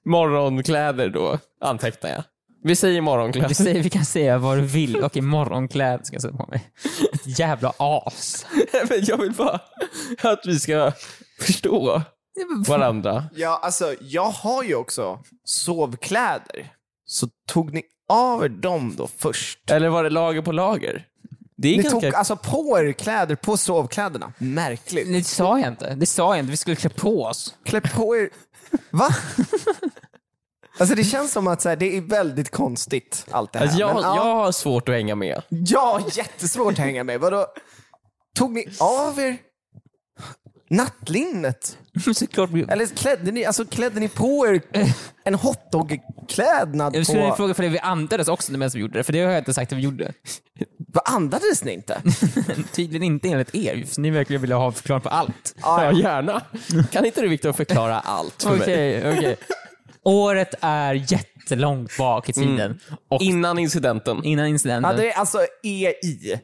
morgonkläder då, antecknar jag. Vi säger Du morgonkläder. säger, vi kan säga vad du vill. Okej, morgonkläder ska jag sätta på mig. Jävla as. Men jag vill bara att vi ska förstå varandra. Ja, alltså jag har ju också sovkläder. Så tog ni av er dem då först? Eller var det lager på lager? Det är Ni ganska... tog alltså på er kläder på sovkläderna? Märkligt. Det sa jag inte. Det sa jag inte. Vi skulle klä på oss. Klä på er... Va? Alltså det känns som att så här, det är väldigt konstigt allt det här. Alltså jag, Men, ja, jag har svårt att hänga med. jag har jättesvårt att hänga med. Vadå? Tog ni av er nattlinnet? Såklart vi... Eller klädde ni, alltså, klädde ni på er en hotdog-klädnad? Jag skulle På... fråga för det vi andades också medan vi gjorde det, för det har jag inte sagt att vi gjorde. Vad andades ni inte? Tydligen inte enligt er, för ni verkligen ville ha förklaring på allt. Ja, gärna. Kan inte du Viktor förklara allt för mig? Okej, okej. Året är jättelångt bak i tiden. Och Innan incidenten. Mm. innan incidenten. Ja, det är alltså EI.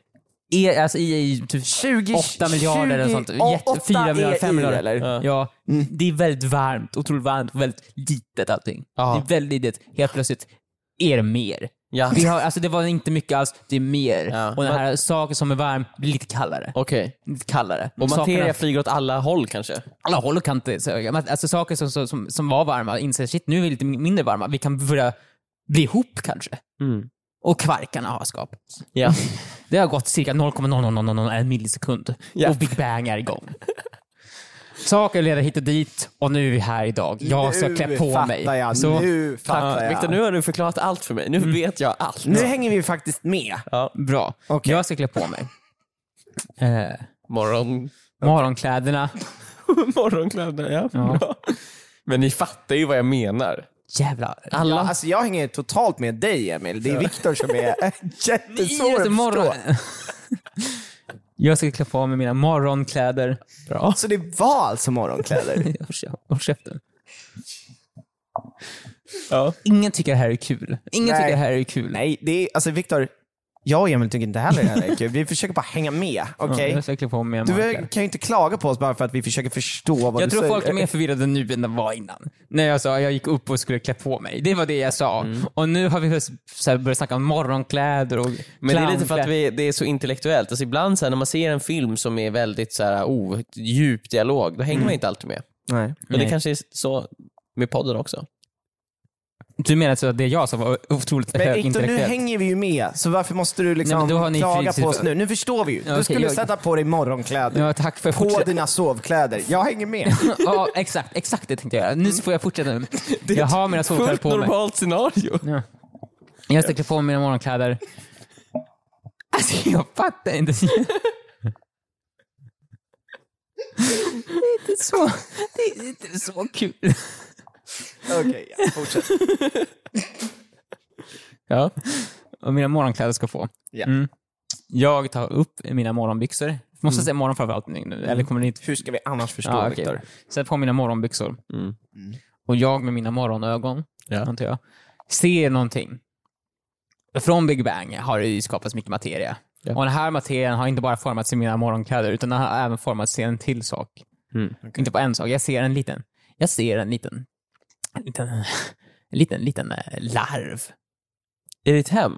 er, alltså, i är typ 20, 8 miljarder eller sånt. 20, Jätte, åtta 4 miljarder, EI, 5 miljarder. eller? Ja. Det är väldigt varmt, otroligt varmt och väldigt litet allting. Ja. Det är väldigt litet. Helt plötsligt är det mer. Ja. Vi har, alltså det var inte mycket alls, det är mer. Ja. Och den här saken som är varm blir lite kallare. Okej. lite kallare. Och materia Sakerna- flyger åt alla håll kanske? alla håll och kanter. så- ja, men Alltså saker som, som- som, som var varma inser shit, nu är vi lite mindre varma. Vi kan börja bli ihop kanske. Mm. Och kvarkarna har skapats. Ja. Det har gått cirka 0,0001 millisekund Ja. och Big Bang är igång. Saker leder hit och dit och nu är vi här idag. Jag ska Nu klä på fattar mig. Jag, Så nu fattar jag. Viktor, nu har du förklarat allt för mig. Nu vet jag allt. Nu hänger vi faktiskt med. bra. Okej. Jag ska klä på mig. Eh, Morgon... morgonkläderna. Morgonkläder, ja. Ja. Bra. Men ni fattar ju vad jag menar. Jävlar. Alla... Ja, alltså jag hänger totalt med dig Emil. Det är Viktor som är jättesvår att Just förstå. morgon. alltså, Jag ska klä på mig mina morgonkläder. Bra. Så det var alltså morgonkläder? Jag försöker- jag Håll käften. Ja. Ingen tycker det här är kul. Ingen Nej. tycker det här är kul. Nej, det är, alltså Viktor, Jag och Emil tycker inte heller det här är kul. Vi försöker bara hänga med. Okej? Jag ska klä på mig en Du marker. kan ju inte klaga på oss bara för att vi försöker förstå vad Jag du tror säger. folk är mer förvirrade nu än de var innan. När jag sa jag gick upp och skulle klä på mig. Det var det jag sa. Och nu har vi s- så här börjat snacka om morgonkläder och Men det är lite för att vi, clownkläder. det är så intellektuellt. Alltså ibland så här, när man ser en film som är väldigt så här, oh, djup dialog, då hänger man inte alltid med. Nej. Och det Nej. kanske är så med podden också. Du menar alltså att det jag sa var otroligt Men inte, nu högintellektuellt? hänger vi ju med, så varför måste du Nej, men då har liksom ni klaga fritid- på oss nu? Nu förstår vi ju. Du okej, skulle jag- sätta på dig morgonkläder. Ja, tack för På fortsätt- dina sovkläder. Jag hänger med. Ja, exakt. Exakt det tänkte jag göra. Nu så får jag fortsätta. nu. Jag har mina solkläder på mig. scenario. Ja. Jag ska klä på mig mina morgonkläder. Alltså jag fattar inte. Det är inte så, det är inte så kul. Okej, ja, fortsätt. Ja. Och mina morgonkläder ska få. Ja. Mm. Jag tar upp mina morgonbyxor. Mm. Måste säga morgon framför allt nu, eller kommer ni inte Hur ska vi annars förstå, Ja, okej. Viktor? Sätt på mina morgonbyxor. Mm. Och jag med mina morgonögon, Ja. antar jag, ser någonting. Från Big Bang har det ju skapats mycket materia. Ja. Och den här materien har inte bara formats i mina morgonkläder, utan den har även formats i en till sak. Mm. Inte bara en sak, jag ser en liten. Jag ser en liten, en liten, en liten, liten eh, larv. I ditt hem?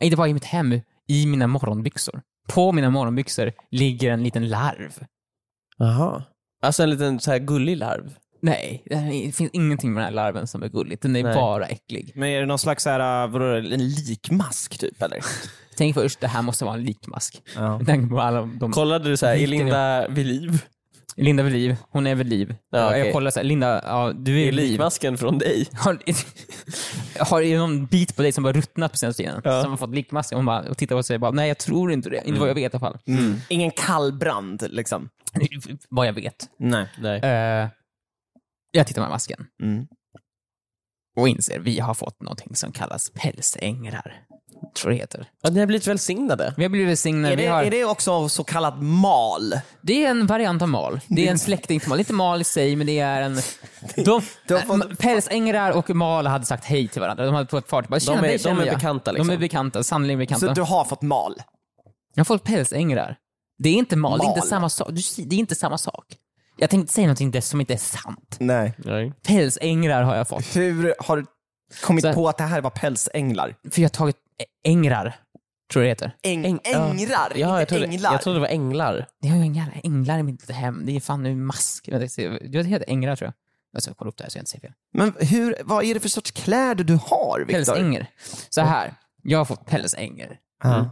Inte bara i mitt hem, i mina morgonbyxor. På mina morgonbyxor ligger en liten larv. Jaha. Alltså en liten så här gullig larv? Nej, det finns ingenting med den här larven som är gulligt. Den är Nej. bara äcklig. Men är det någon slags så här, äh, vadå, en likmask typ eller? Tänk först, det här måste vara en likmask. Ja. Med tanke på alla de... Kollade du så här, är Vilken Linda vid liv? Linda vid liv, hon är vid liv. Ja, okej. Jag kollar såhär, Linda, ja, du är Är vid liv. likmasken från dig? Har, har det någon bit på dig som bara ruttnat på senaste tiden? Ja. Mm. Som har fått likmask? Hon bara, och tittar på sig och bara, nej jag tror inte det. Inte vad jag vet i alla fall. Ingen kallbrand liksom? Mm. vad jag vet. Nej. Nej. Eh, jag tittar med masken Mm. och inser, vi har fått någonting som kallas pälsängrar. Tror det heter. Ja, ni har blivit välsignade. Vi har blivit välsignade. Är vi det, har... är det också så kallat mal? Det är en variant av mal. Det är en släkting till mal. Inte mal i sig, men det är en... De, de har fått- äh, Pälsängrar och mal hade sagt hej till varandra. De hade på ett fartyg bara, "Tjena, är- dig de känner är jag." bekanta, liksom. De är bekanta, sannolikt Så bekanta. du har fått mal? Jag har fått pälsängrar. Det är inte mal, det är Mal. inte samma sak. Du, ser- det är inte samma sak. Jag tänkte säga någonting där som inte är sant. Nej. Nej. Pälsängrar har jag fått. Hur har du kommit Så här- på att det här var pälsänglar? För jag har tagit ä- ängrar, tror jag det heter. Äng, Äng- ja. ängrar, Ja, jag inte trodde, änglar. jag trodde det var änglar. Det har ju inga jävla änglar i mitt hem. Det är fan nu mask. Vänta, jag ser- Det heter ängrar tror jag. Jag ska kolla upp det här så jag inte säger fel. Men hur, vad är det för sorts kläder du har, Viktor? Pälsänger. Så här, jag har fått pälsänger. Ja.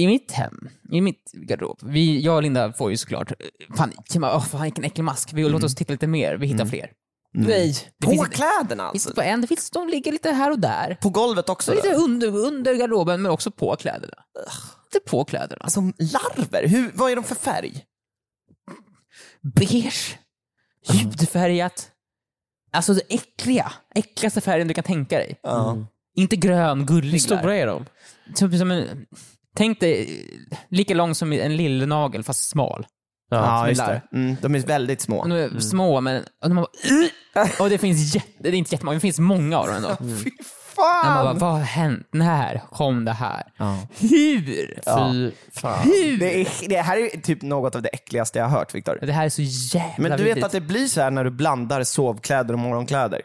I mitt hem, i mitt garderob, vi, jag och Linda får ju såklart eh, panik. Man bara, Åh, fan vilken äcklig mask. Vi låt oss titta lite mer, vi hittar fler. Mm. Nej. Det På finns, inte- kläderna finns alltså? inte på en, det finns, de ligger lite här och där. På golvet också? Så lite då? under, under garderoben men också på kläderna. Lite på kläderna. Alltså larver, hur, vad är de för färg? Beige, ljudfärgat. Alltså det äckliga, äckligaste färgen du kan tänka dig. Ja. Inte grön, gullig. Hur stora är de? Typ som en, tänk dig eh, lika lång som en lillnagel fast smal. Ja, som en just larv. det. Mm, de är väldigt små. Och De är små, men... Och, de bara, "Ugh!" och det finns jätte, det är inte jättemånga, det finns många av dem ändå. Fy När man bara, fan! Mm. vad har hänt? När kom det här? Ja. Hur? Fy fan. Hur? Det, är, det här är ju typ något av det äckligaste jag har hört, Viktor. Det här är så jävla Men du vet vidrigt. att det blir så här när du blandar sovkläder och morgonkläder.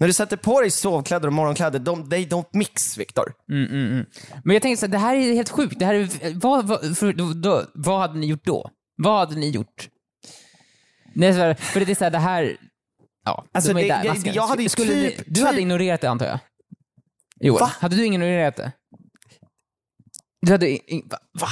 När du sätter på dig sovkläder och morgonkläder, de, they don't mix, Viktor. Mm, mm, mm. Men jag tänker så här, det här är helt sjukt. Det här är, vad, vad, för, då, då, vad hade ni gjort då? Vad hade ni gjort? Nej, så här, för det är så här, det här... Ja, Alltså, de är det- där, jag- masken. jag hade ju Skulle ni- typ- Du hade typ- ignorerat det antar jag? Joel, Va? hade du ignorerat det? Du hade... i- i- Va? va?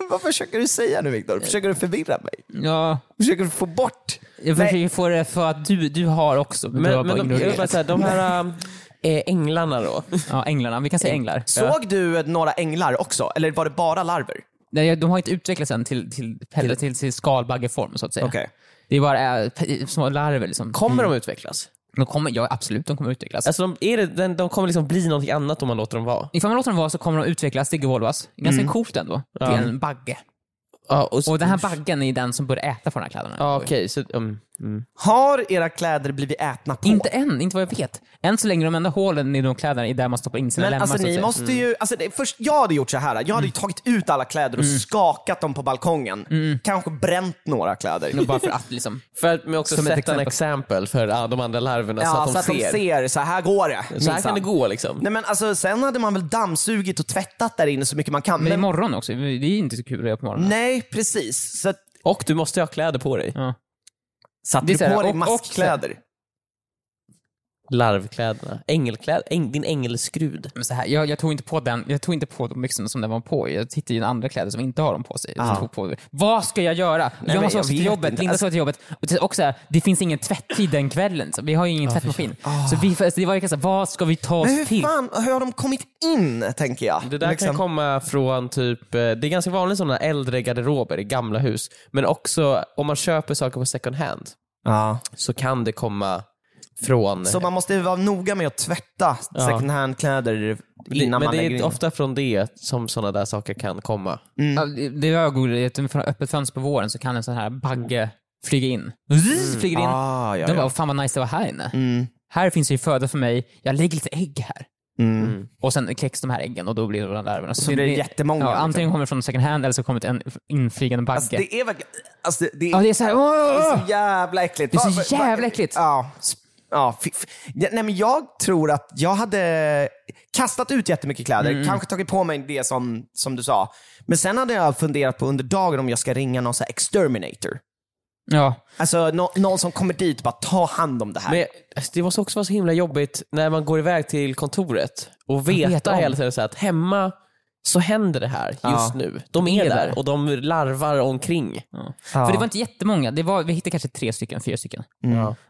Vad försöker du säga nu, Viktor? Försöker du förvirra mig? Ja, Försöker du få bort? jag Nej. försöker få det för att du, du har också... Men, du har Men, bara men de, jag vill bara ignorerat. säga, de här äh, änglarna då? Ja, änglarna. Vi kan säga änglar. Såg du eh, några änglar också, eller var det bara larver? Nej, jag- de har inte utvecklats än till, till, till, till, till skalbaggeform så att säga. Okej. Det är bara äh, pe- små larver liksom. Kommer de utvecklas? De kommer, ja absolut, de kommer utvecklas. Alltså de, är det, den, de kommer liksom bli någonting annat om man låter dem vara. Ifall man låter dem vara så kommer de utvecklas till Golvas. Ganska Mm. coolt ändå. Till en bagge. Ja, och, Och den här baggen är den som börjar äta på de här kläderna. Ja, okej. så, um, Har era kläder blivit ätna på? Inte än, inte vad jag vet. Än så länge de enda hålen i de kläderna är där man stoppar in sina Men lemmar. alltså så att ni säga. måste ju, alltså det, först, jag hade gjort så här. jag hade ju tagit ut alla kläder och skakat dem på balkongen. Kanske bränt några kläder. Bara för att liksom. För att men också Som ett sätta en exempel. exempel för ja, de andra larverna så Ja, att de ser. så här går det. Så här kan minsann. det gå liksom. Nej men alltså sen hade man väl dammsugit och tvättat där inne så mycket man kan. Men Men, imorgon också, det är ju inte så kul att göra på morgonen. nej precis. Så att, Och du måste ha kläder på dig. Ja. satte Det är du så här, på dig och- och- maskkläder? Larvkläderna. Ängelkläder. Äng, din ängelskrud. Men så här, jag, jag, tog inte på den, jag tog inte på de byxorna som den var på i. Jag tittade ju i andra kläder som inte har dem på sig. Aha. Jag tog på, vad ska jag göra? jag Ah. men måste jag också till vet jobbet, inte. Linda ska till jobbet. Och till- Och så här, det finns ingen tvätttid den kvällen, så vi har ju ingen tvättmaskin. Så vi, så det var ju ganska, vad ska vi ta oss Ah. Men hur Alltså, till? fan hur har de kommit in tänker jag? Liksom. Det där kan komma från typ, eh, det är ganska vanligt sådana äldre garderober i gamla hus, men också om man köper saker på second hand ja. så kan det komma från... Så man måste ju vara noga med att tvätta second hand-kläder det, innan men man det lägger är in. ofta från det som sådana där saker kan komma. Ja, det- det var googlat, från öppet fönster på våren så kan en sån här bagge flyga in. Flyger in. Ah, ja, De ja. bara, fan vad nice det var här inne. Mm. Här finns ju föda för mig, jag lägger lite ägg här. Mm. Och sen kläcks de här äggen och då blir det de larverna. Så blir det jättemånga, Ja, liksom. antingen kommer det från second hand eller så kommer det en inflygande bagge. Alltså, det är verkligen... Alltså, det, Ah, Ja, det är så här, åh, det åh, är åh. så jävla äckligt. Det är så Va- va- va- jävla äckligt. Ja. s- Ja, fi- fi- ja, nej, men jag tror att jag hade kastat ut jättemycket kläder, Mm. kanske tagit på mig det som, som du sa. Men sen hade jag funderat på under dagen om jag ska ringa någon så här exterminator. Ja. Alltså nå- någon som kommer dit och bara ta hand om det här. Men alltså, det måste också vara så himla jobbigt när man går iväg till kontoret och veta vet om. hela tiden så här att hemma så händer det här just Ja. nu. De är där och de larvar omkring. Ja. Mm. För det var inte jättemånga, det var, vi hittade kanske tre stycken, fyra stycken.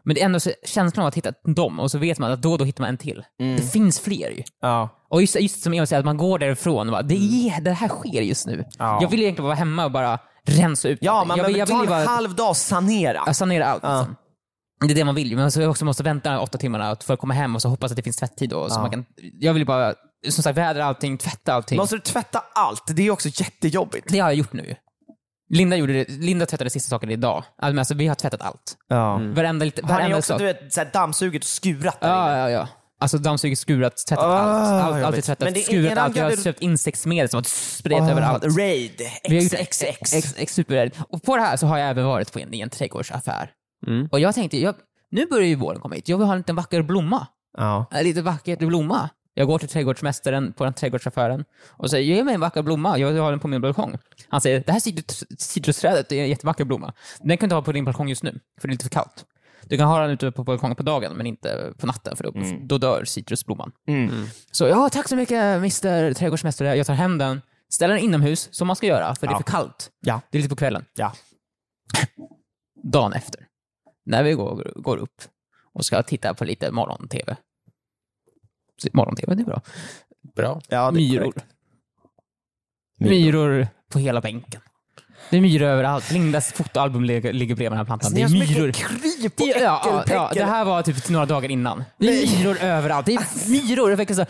Men det är ändå så, känslan av att hitta dem och så vet man att då och då hittar man en till. Mm. Det finns fler ju. ja. Och just, just som Emil säger, att man går därifrån och bara, det, är, det här sker just nu. Mm. Ja. Jag vill egentligen bara vara hemma och bara rensa ut. ja, allting. man jag, vill- behöver ta ju en halv dag och sanera. Ja, sanera allt. Liksom. Det är det man vill ju, men så också måste vänta åtta timmar för att komma hem och så hoppas att det finns tvätttid. Då, så man kan, jag vill ju bara, som sagt, vädra allting, tvätta allting. Måste du tvätta allt? Det är också jättejobbigt. Det har jag gjort nu. Linda, gjorde det, Linda tvättade sista saken idag. Alltså, men alltså, vi har tvättat allt. Ja. Varenda, lite, Har ni varenda också sak. du vet, så här dammsugit och skurat där inne? Ja, ja, ja. Alltså dammsugit, skurat, tvättat Ah, allt. Allt, allt är jobbigt. Men tvättat, det är skurat eran allt. Jag har garderob- köpt insektsmedel som har spretat Ah, överallt. Raid, Vi har gjort XXX. Ex, ex, super. Och på det här så har jag även varit på en, i en trädgårdsaffär. Och jag tänkte, jag, nu börjar ju våren komma hit. Jag vill ha en liten vacker blomma. Ja. En liten vacker blomma. Jag går till trädgårdsmästaren på den trädgårdsaffären och säger, ge mig en vacker blomma. Jag vill ha den på min balkong. Han säger, det här citrus- citrusträdet är en jättevacker blomma. Den kan du ha på din balkong just nu, för det är lite för kallt. Du kan ha den ute på balkongen på dagen, men inte på natten, för då, Mm. då dör citrusblomman. Så ja, tack så mycket Mr Trädgårdsmästare. Jag tar hem den, ställer den inomhus, som man ska göra, för det är Ja. för kallt. Ja. Det är lite på kvällen. Ja. Dagen efter, när vi går, går upp och ska titta på lite morgon-tv. Så Morgon-tv, det är bra. Bra. Ja, det är Myror. korrekt. Myror på hela bänken. Det är myror överallt. Lindas fotoalbum ligger, ligger bredvid den här plantan. Alltså, Ni Det har är så mycket myror. kryp Det, och ja, ja, äckelpäckel. det här var typ några dagar innan. Det är myror överallt. Det Alltså. är myror. Det verkar så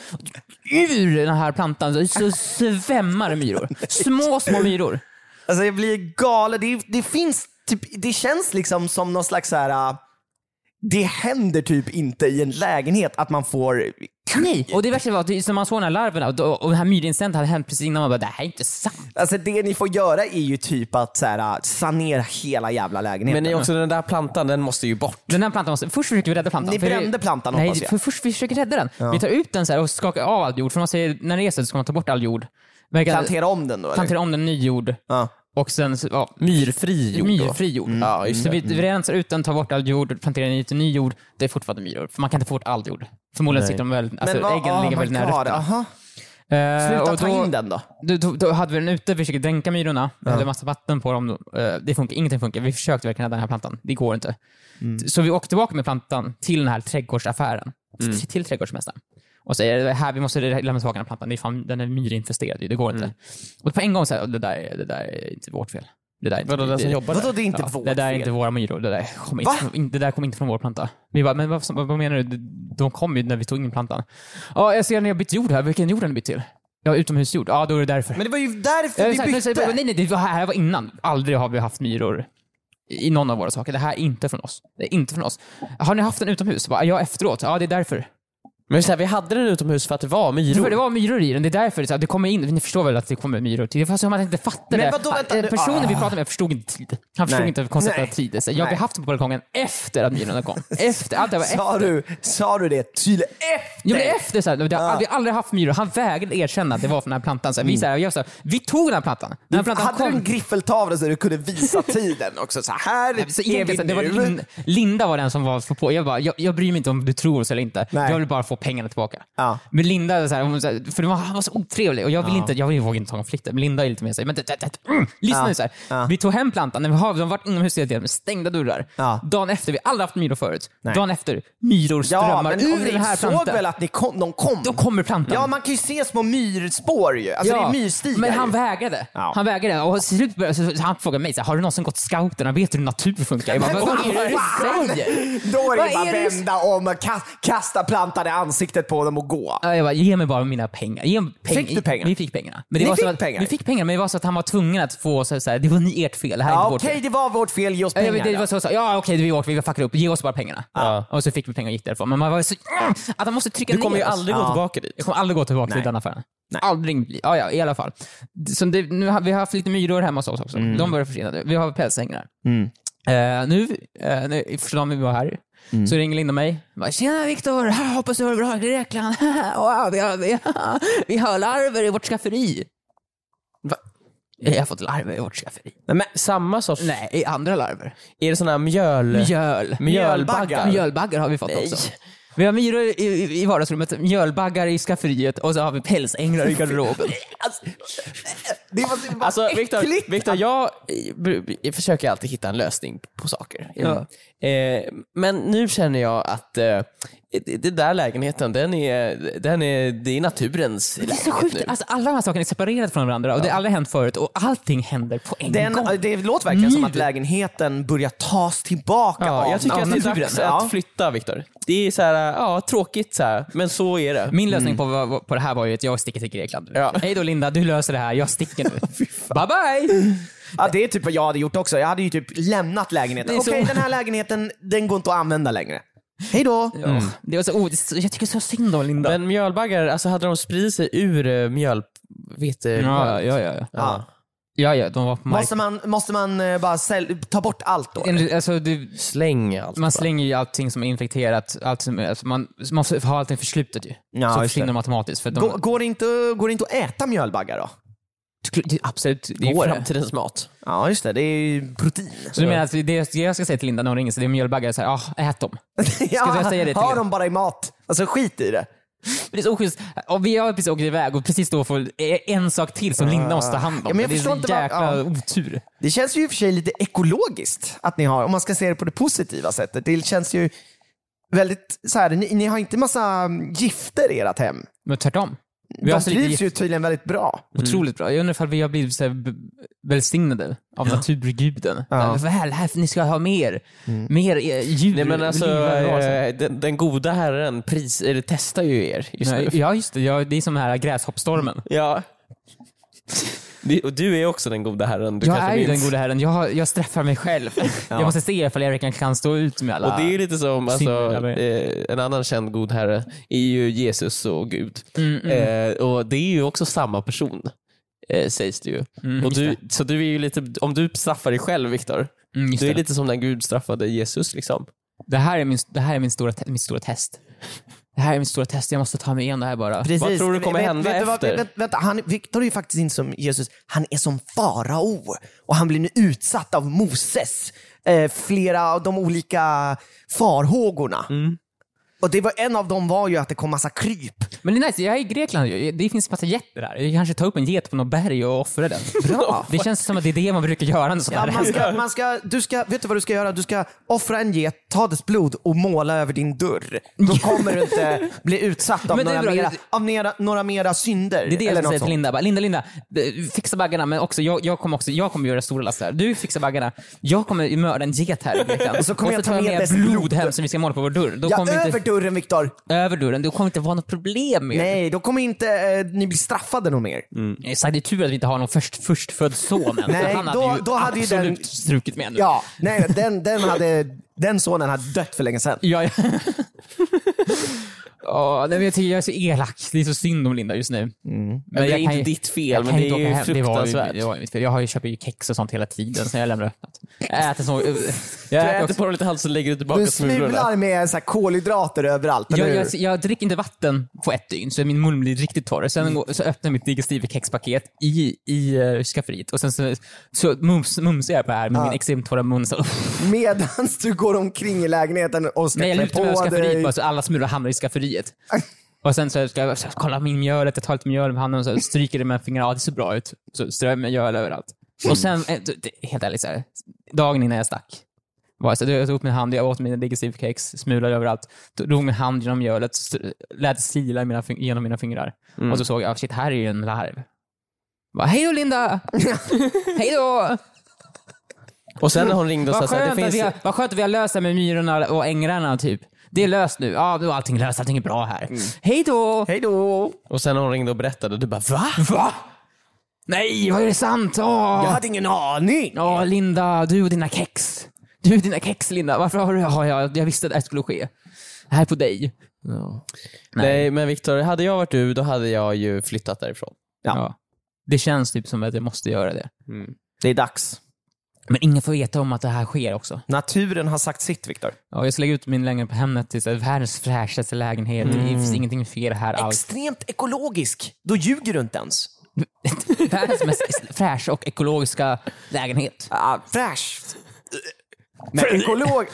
ur den här plantan så svämmar det myror. Små, små myror. Alltså jag blir galen. Det, det finns typ, det känns liksom som någon slags så här. äh, Det händer typ inte i en lägenhet att man får Nej, och det värsta var att det- som man såg den här larverna och, då- och den här myrincidenten hade hänt precis innan. Man bara, det här är inte sant. Alltså det ni får göra är ju typ att så här, äh, sanera hela jävla lägenheten. Men det är också den där plantan, den måste ju bort. Den här plantan måste, först försöker vi rädda plantan. Ni för det- brände plantan, Nej, hoppas jag. för först vi försöker rädda den. Vi tar ut den så här och skakar av all jord. För man säger, när det är så ska man ta bort all jord. Verkar- Plantera om den då eller? plantera om den ny jord. Ja. Och sen så, ja, Myrfri jord då. Mm. myrfri jord. Ja, just Så vi, vi rensar ut den, tar bort all jord, planterar in lite ny jord. Det är fortfarande myror, för man kan inte få bort all jord. Förmodligen sitter de väl, alltså, vad- äggen oh ligger my väldigt nära God, rötterna. aha. Eh, Sluta och ta då- in den då. då, då, då hade vi den ute, vi försökte dränka myrorna, vi hällde massa vatten på dem. Eh, Det funkar, ingenting funkar. Vi försökte verkligen rädda den här plantan, det går inte. Så vi åkte tillbaka med plantan till den här trädgårdsaffären, till, till trädgårdsmästaren. Och säger, "Det här, vi måste lämna tillbaka den här plantan, det är fan, den är myrinfesterad ju, det går inte. Och på en gång säger det där, är- det där är inte vårt fel. Det där är inte, Vadå, den som det- jobbar Vadå där? det är inte vårt det där är fel? inte våra myror. Det där kommer inte, Va? från- det där kommer inte från vår planta. Vi bara, men vad, vad, vad menar du? De- De kom ju när vi tog in plantan. Ja, jag ser när jag bytt jord här. Vilken jord har ni bytt till? Ja, utomhusjord. Ja, då är det därför. Men det var ju Ja, därför vi exakt. Men så- bytte. Nej, nej, det var här var innan. Aldrig har vi haft myror i någon av våra saker. Det här är inte från oss. Det är inte från oss. Har ni haft den utomhus? Bara, ja, efteråt. Ja, det är därför. Men så här, vi hade den utomhus för att det var myror. För det var myror i den. Det är därför det, så här, det kommer in. Ni förstår väl att det kommer myror till? Det var som att han inte fattade. Men vadå, vänta Eh, nu. Personen vi Ah. pratade med förstod inte tid. Han förstod Nej. inte konceptet Nej. av tid. Så Jag har Nej. haft den på balkongen efter att myrorna kom. Efter. Allt det var efter. Sa du, sa du det tydligt efter? Jo, men efter så här, vi Ah. har aldrig, aldrig haft myror. Han vägrade erkänna att det var från den här plantan. Så här, vi, så här, jag, så här, vi tog den här plantan. Den här plantan Hade kom. Mm. du en griffeltavla så du kunde visa tiden också? Så här Så är vi egentligen, det var nu. Lin, Linda var den som var för på. Jag, bara, jag, jag bryr mig inte om du tror oss eller inte. Nej. Jag vill bara få pengarna tillbaka. Ja. Men Linda, så här, hon, så här, för det var, han var så otrevlig och jag vill inte, jag vill, vågar inte ta konflikter. Men Linda är lite mer såhär, men det- det- det- mm, lyssna Ja. nu såhär. Ja. Vi tog hem plantan, när vi har, de har varit inomhus hela tiden med stängda dörrar. Ja. Dagen efter, vi har aldrig haft myror förut. Nej. Dagen efter, myror Ja, strömmar men om ur den ni här såg plantan. väl att ni kom, de kom? Då kommer plantan. Ja, man kan ju se små myrspår ju. Alltså det är myrstigar men han ju. vägrade. Ja. Han vägrade. Och till slut började, så, så han frågade mig, så här, har du någonsin gått scouterna? Vet du hur natur funkar? Jag bara, vad, vad är det du säger? Då är Vad det bara är det du vända om, och ka- kasta plantan i ansiktet på dem och gå. Ja, Jag bara, ge mig bara mina pengar. Ge mig peng- Fick du pengar? Vi fick pengarna. Men Ni var så fick att, pengar? Vi fick pengar, men det var så att han var tvungen att få så så här, det var ni ert fel, det här är Ja, inte vårt Okej, fel. det var vårt fel. Ge oss Ja, pengar. jag vet, det var så, så, ja okej, vi åker, vi fuckar upp, ge oss bara pengarna. Och så fick vi pengar och gick därifrån. Men man var så, att han måste trycka Du ner kommer ju oss. aldrig gå Ja. tillbaka dit. Jag kommer aldrig gå tillbaka till den affären. Aldrig. bli- Ja, ja, i alla fall. Så det, nu har, vi har haft lite myror hemma hos oss också. De börjar försvinna nu. Vi har pälshängare. Eh, nu, uh, nu, första dagen vi var här, så ringer Linda mig. Bara, Tjena Viktor, här, hoppas du har det bra i Grekland. wow, vi, har, vi, har, vi har larver i vårt skafferi. Va? Jag har fått larver i vårt skafferi. Nej, men samma sorts... Nej, i andra larver. Är det såna här mjöl... Mjöl. Mjölbaggar? Mjölbaggar har vi fått Nej. också. Vi har myror i, i, i vardagsrummet, mjölbaggar i skafferiet och så har vi pälsänglar i garderoben. Alltså, det var, det var Alltså Viktor, äckligt. Viktor jag, eh, br- jag försöker alltid hitta en lösning på saker. Eh, men nu känner jag att eh, det- den där lägenheten, den är, den är, det är naturens Det är så lägenhet sjukt. nu. Alltså, alla de här sakerna är separerade från varandra och det har aldrig hänt förut och allting händer på en gång. Den, det låter verkligen som Nu. att lägenheten börjar tas tillbaka Ja, av jag tycker av att det är naturen. dags Ja. att flytta Viktor. Det är så här, ja, tråkigt så här, men så är det. Min lösning på, vad- på det här var ju att jag sticker till Grekland. Ja. Hej då Linda, du löser det här. Jag sticker nu. bye bye! Ja, det är typ vad jag hade gjort också. Jag hade ju typ lämnat lägenheten. Det är så- Okej, den här lägenheten, den går inte att använda längre. Hej då! Mm. Ja, Det var så, oh, det är så- jag tycker så synd om Linda. Men mjölbaggar, alltså hade de spridit sig ur eh, mjöl... Vete... ja, mjölet? ja, ja, ja. Ja. ja, ja, de var på Måste marken. man, måste man eh, bara sälj, ta bort allt då? En- Alltså, du, Släng allt. bara. Man slänger ju allting som är infekterat, allt som, alltså man man måste ha allting förslutet ju. Ja, just så det. försvinner de automatiskt. För de, Går, går, det inte, går det inte att äta mjölbaggar då? det, absolut, det är Går ju fram- framtidens mat. Ja, just det. Det är ju protein. Så du menar att det det jag ska säga till Linda när hon ringer så det är mjölbaggar, så här, ah, ät dem. ja, jag säga det till ha er? dem bara i mat. Alltså skit i det. Men det är så oschysst. Och vi har precis åkt iväg och precis då får en sak till som Linda måste ta hand om. Ja, men jag det är förstår så inte vad- jäkla ja. otur. Det känns ju i och för sig lite ekologiskt att ni har, om man ska se det på det positiva sättet. Det känns ju väldigt så här, ni, ni har inte massa mm, gifter i ert hem. Men tvärtom. Vi De alltså har så lite trivs gift, ju tydligen väldigt bra. otroligt bra. Jag undrar ifall vi har blivit så här b- välsignade av naturguden. Ja. Väl, här, ni ska ha mer, mer eh, djur. Nej men alltså, levande varelser." eh, den, den goda herren pris, eller, testar ju er just Nej, nu. Ja, just det. Ja, det är som den här gräshoppstormen. Ja. Det- Och du är också den goda herren. Du Jag kanske är ju minns. den gode herren. Jag, jag straffar mig själv. Jag måste se ifall jag verkligen kan stå ut med alla... Och det är lite som Synd, alltså, eller? eh, en annan känd god herre är ju Jesus och Gud. Mm, Eh, och det är ju också samma person. Eh, sägs det ju. och du, så du är ju lite, om du straffar dig själv Viktor, Mm, just du är det. lite som när Gud straffade Jesus. Liksom. det här är, min, det här är min stora, te- mitt stora test. Det här är mitt stora test. Jag måste ta mig igenom det här bara. Precis. Vad tror du kommer Vet- hända vet, du vad- efter? Vet, vänta, han, Victor är ju faktiskt inte som Jesus. Han är som farao. Och han blir nu utsatt av Moses. Eh, flera av de olika farhågorna. Mm. Och det var, en av dem var ju att det kom massa kryp. Men det är nice. Jag är i Grekland ju. Det finns massa getter där. Jag kanske tar upp en get på något berg och offrar den. Bra. Det känns som att det är det man brukar göra när sånt Ja, här man händer. ska, man ska, du ska, vet du vad du ska göra? Du ska offra en get, ta dess blod och måla över din dörr. Då kommer du inte bli utsatt av, Men det är några bra. mera, av mera, några mera synder. Det är det jag eller ska något säga till sånt. Linda. Bara, Linda, Linda, eh, fixa baggarna. Men också, jag, jag kommer också, jag kommer göra stora laster. Du fixar baggarna. Jag kommer mörda en get här i Grekland. Och så kommer jag ta tar med dess blod blod. hem som vi ska måla på vår dörr. Då Ja, kommer vi över inte, dörren Viktor. Över dörren, det kommer inte vara något problem med Nej, då kommer inte eh, ni bli straffade någon mer. det. Jag sa, Mm. det är tur att vi inte har någon först, förstfödd son än. Nej, han då- hade ju då hade ju den- absolut strukit med nu. Ja, nej, den, den, hade, den sonen hade dött för länge sedan. Ja, ja. Ja, nej, men jag tycker jag är så elak. Det är så synd om Linda just nu. Mm. Men det är jag kan inte ju- ditt fel, jag men kan det inte är åka ju hem. det var fruktansvärt. det var ju mitt fel. Jag har ju, köper ju kex och sånt hela tiden sen jag lämnar öppnat. Jag äter så... Du Jag, äter äter också, på dem lite halvt så lägger du tillbaka Du smular med så här kolhydrater överallt, jag, eller jag, hur? jag dricker inte vatten på ett dygn, så min mun blir riktigt torr. Sen går, så öppnar jag mitt digestive kexpaket i, i eh, skafferiet och sen så, så mums, mumsar jag på det här med min extremt torra mun. Så, Medan du går omkring i lägenheten och ska Nej, jag lyfter klä mig över på dig. skafferiet bara så alla smulor hamnar i skafferiet. Och sen så ska jag så, kolla min mjölet, jag tar lite mjöl med handen och så stryker det med fingrarna. Ja, det ser bra ut. Så strör jag mjöl överallt. Och sen, eh, det- det- helt ärligt, så här, dagen innan jag stack. Var jag, så, jag tog upp min hand, jag åt mina digestive cakes, smulade överallt. Då Drog min hand genom mjölet, str- lät det sila i mina, fing- genom mina fingrar. Mm. Och så såg jag, ah, shit, här är ju en larv. Bara, Hej då Linda! Hej då! Och sen när hon ringde och sa Vad såhär, skönt, det att vi finns... har, vad skönt att vi har löst det här med myrorna och ängrarna, typ. Det är löst nu. Ja, nu är allting löst. Allting är bra här. Hej då! Hej då! Och sen när hon ringde och berättade, du bara va? Va? Nej, vad är det sant? Åh, Jag hade ingen aning! Åh, Linda, du och dina kex. Du och dina kex, Linda. Varför har du... Ja, jag, jag visste att det här skulle ske. Det här är på dig. Nej. men Viktor, hade jag varit du, då hade jag ju flyttat därifrån. Ja. Det känns typ som att jag måste göra det. Det är dags. Men ingen får veta om att det här sker också. Naturen har sagt sitt, Viktor. Ja, jag ska lägga ut min lägenhet på Hemnet till så här, världens fräschaste lägenhet. Det finns ingenting fel här alls. Extremt ekologisk. Då ljuger du inte ens. Världens mest fräscha och ekologiska lägenhet. Ah, fräscht. Men, ekolog...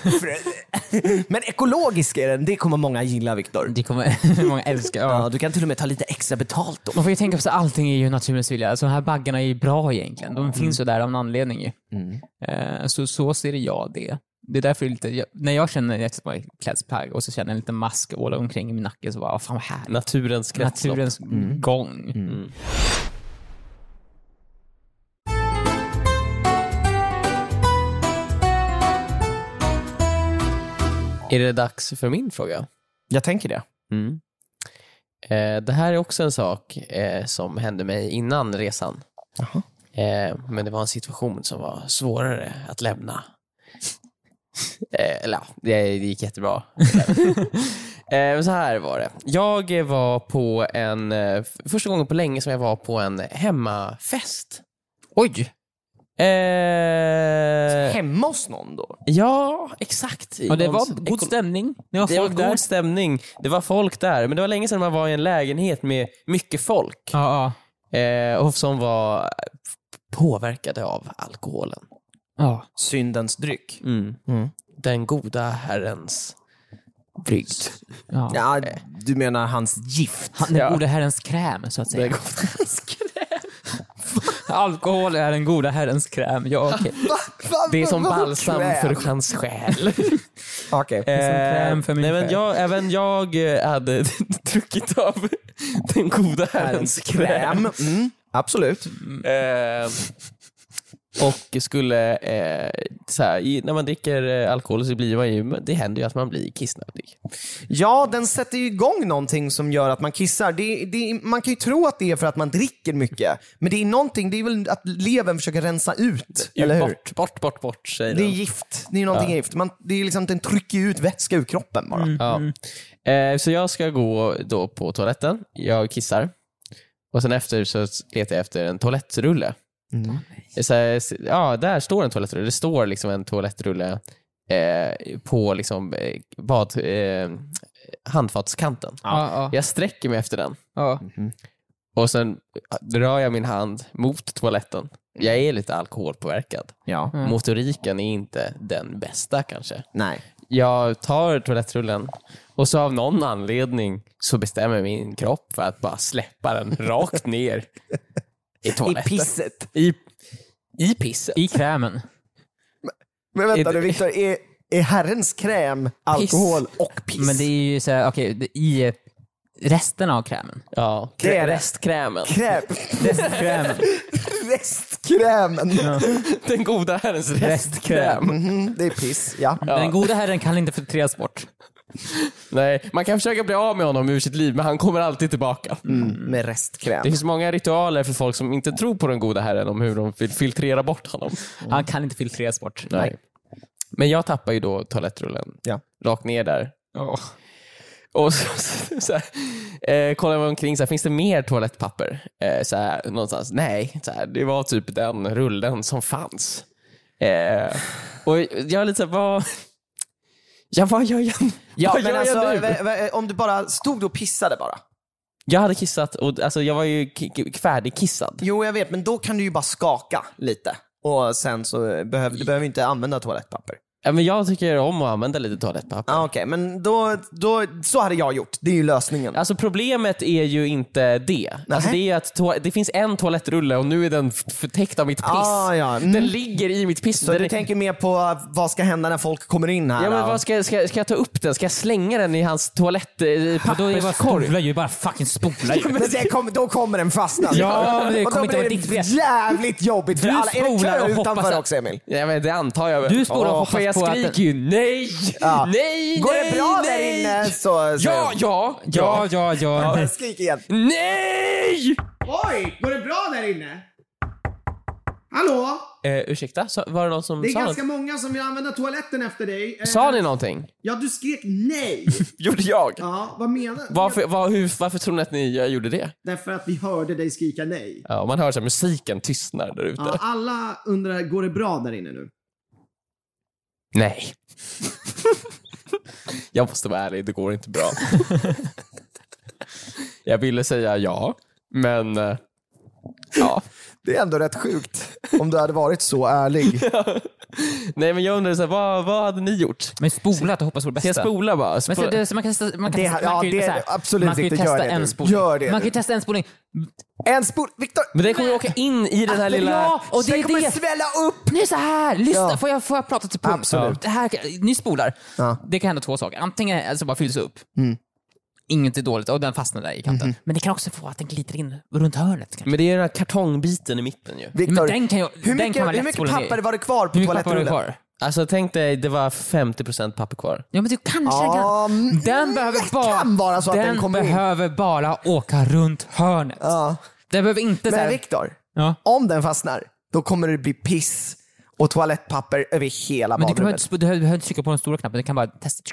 Men ekologisk är den. Det kommer många gilla, Viktor. Det kommer många älska. Ja. Ja, du kan till och med ta lite extra betalt då. Man får ju tänka på att allting är ju naturens vilja. Så de här baggarna är ju bra egentligen. De finns ju där av en anledning. Ju. Eh, Så, så ser jag det. Det är därför det är lite, jag, när jag känner jag sätter på mig ett klädesplagg och så känner jag en liten mask åla omkring i min nacke så bara, "Åh, fan vad härligt. Naturens kretslopp. Naturens gång. Är det dags för min fråga? Jag tänker det. Eh, det här är också en sak eh, som hände mig innan resan. Eh, men det var en situation som var svårare att lämna. eh, eller ja, det, det gick jättebra. eh, men så här var det. Jag eh, var på en, eh, f- första gången på länge som jag var på en hemmafest. Oj! Eh, Hemma hos någon då? ja, exakt. Och det Någon- var god stämning. Det var det var folk där. god stämning, det var folk där, men det var länge sedan man var i en lägenhet med mycket folk Ja, ja. eh, och som var påverkade av alkoholen. Mm. ja. Syndens dryck. Mm. Den goda herrens brygd. ja. Ja, du menar hans gift? Han, den gode herrens kräm, så att säga. Alkohol är den goda herrens kräm. Ja, okej. Det är som balsam för hans själ. Okej. kräm för min nej, men själ. jag, även jag eh, hade druckit av den goda herrens kräm. Kräm. Mm, absolut. Eh, och skulle, eh, så här, i, när man dricker eh, alkohol så blir man ju, det händer ju att man blir kissnödig. Ja, den sätter ju igång någonting som gör att man kissar. Det, det, man kan ju tro att det är för att man dricker mycket, men det är någonting, det är väl att levern försöker rensa ut, eller hur? Bort, bort, bort, bort säger Det är de. gift. Det är någonting gift. Man, det är liksom, den trycker ju ut vätska ur kroppen Mm. bara. ja. eh, Så jag ska gå då på toaletten, jag kissar. Och sen efter så letar jag efter en toalettrulle. Mm. Så här, ja, där står en toalettrulle. Det står liksom en toalettrulle eh, på liksom, eh, bad, eh, handfatskanten. Ja, ja. Jag sträcker mig efter den. ja. Och sen eh, drar jag min hand mot toaletten. Jag är lite alkoholpåverkad. Ja. Motoriken är inte den bästa kanske. Nej. Jag tar toalettrullen och så av någon anledning så bestämmer min kropp för att bara släppa den rakt ner i toaletten. pisset. I, i pisset. I krämen. Men vänta Är det- nu Viktor, är, är herrens kräm alkohol och piss? Men det är ju så här, okej, det- i eh, resten av krämen. Ja, Det är det. restkrämen. Kräm, Krämen. restkrämen. Den goda herrens restkräm. Mhm, det är piss, ja. Den goda herren kan inte filtreras bort. Nej, man kan försöka bli av med honom ur sitt liv, men han kommer alltid tillbaka. Mm, med restkräm. Det finns många ritualer för folk som inte tror på den goda herren om hur de vill filtrera bort honom. Han kan inte filtreras bort. Mm. Nej. Men jag tappar ju då toalettrullen Ja. rakt ner där. Åh. Och så, så, så här, eh, kollar man omkring, så här, finns det mer toalettpapper? Eh, så här, någonstans. Nej, så här, det var typ den rullen som fanns. Eh, och jag är lite så här, vad... Ja, vad gör jag, Ja, vad men gör alltså, jag nu? vä- vä- om du bara stod och pissade bara. eh, Jag hade kissat och alltså, jag var ju k- k- färdigkissad. Jo, jag vet, men då kan du ju bara skaka lite. Och sen så behöver du behöver inte använda toalettpapper. Ja, men jag tycker om att använda lite toalettpapper. Ah, Okej, men då, då, så hade jag gjort. Det är ju lösningen. Alltså problemet är ju inte det. Alltså, Nähä. det är ju att toa- det finns en toalettrulle och nu är den f- förtäckt av mitt piss. Ah, ja. Mm. Den ligger i mitt piss. Så Den du är- tänker mer på vad ska hända när folk kommer in här? Ja, men då? vad ska, jag- ska, jag- ska jag ta upp den? Ska jag slänga den i hans toalett? eh, Men då är det bara Papperskorg? spola ju, bara fucking spola ju. men det kommer- då kommer den fastna. Ja, men det och kommer då inte blir vara det ditt fel. jävligt jobbigt för Du alla. Är det spolar kö och hoppas utanför att- också Emil? Ja, men det antar jag väl. Du spolar och Åh, hoppas för jag på att skriker den- ju nej, Ja. nej, Går nej, det bra nej. där inne så... så... Ja, ja, ja. Ja, ja, ja. Skrik igen. Nej! Oj, går det bra där inne? Hallå? Eh, ursäkta, sa- var det någon som Det är sa något? ganska många som vill använda toaletten efter dig. Eh, Sa ni någonting? Ja, du skrek nej. Gjorde jag? Ja, vad menar du? Varför, var, hur, varför tror ni att ni eh, gjorde det? Därför att vi hörde dig skrika nej. Ja, man hör så här, musiken tystnar där ute. Ja, alla undrar, går det bra där inne nu? Nej. jag måste vara ärlig, det går inte bra. jag ville säga ja, men eh, ja. Det är ändå rätt sjukt om du hade varit så ärlig. Nej men jag undrar, så här, vad, vad hade ni gjort? Men spola och hoppas på det Ska jag bästa. spola bara? Men Spola. så, det, så man kan, testa- man kan, Det- man ja, kan ju det är så här, absolut man kan ju riktigt. Gör testa det nu. en spolning. Gör det man nu. kan ju testa en spolning. En spol... Viktor! men den kommer åka in i den här lilla... Ja, och det Den är kommer det. svälla upp! Nu så här, lyssna, Ja. får, jag, får jag prata till punkt? Absolut. Det här, ni spolar. Ja. Mm. Det kan hända två saker. Antingen alltså bara fylls upp. Inget är dåligt och den fastnar där i kanten. Mm-hmm. Men det kan också få att den glider in runt hörnet. Kanske. Men det är den här kartongbiten i mitten ju. Viktor, den kan ju- hur den mycket, kan man hur lätt mycket spola ner. papper var det kvar på Hur mycket papper har du toalettrullen? kvar? Alltså tänk dig, det var 50% papper kvar. Ja men du kanske Ja, mm, kan. Den behöver bara, kan vara så att den kommer in. behöver bara åka runt hörnet. Ja. Den behöver inte Men såhär... Viktor, Ja. om den fastnar, då kommer det bli piss och toalettpapper över hela Men du, kan, badrummet. behöver- du behöver inte trycka på den stora knappen, du kan bara testa.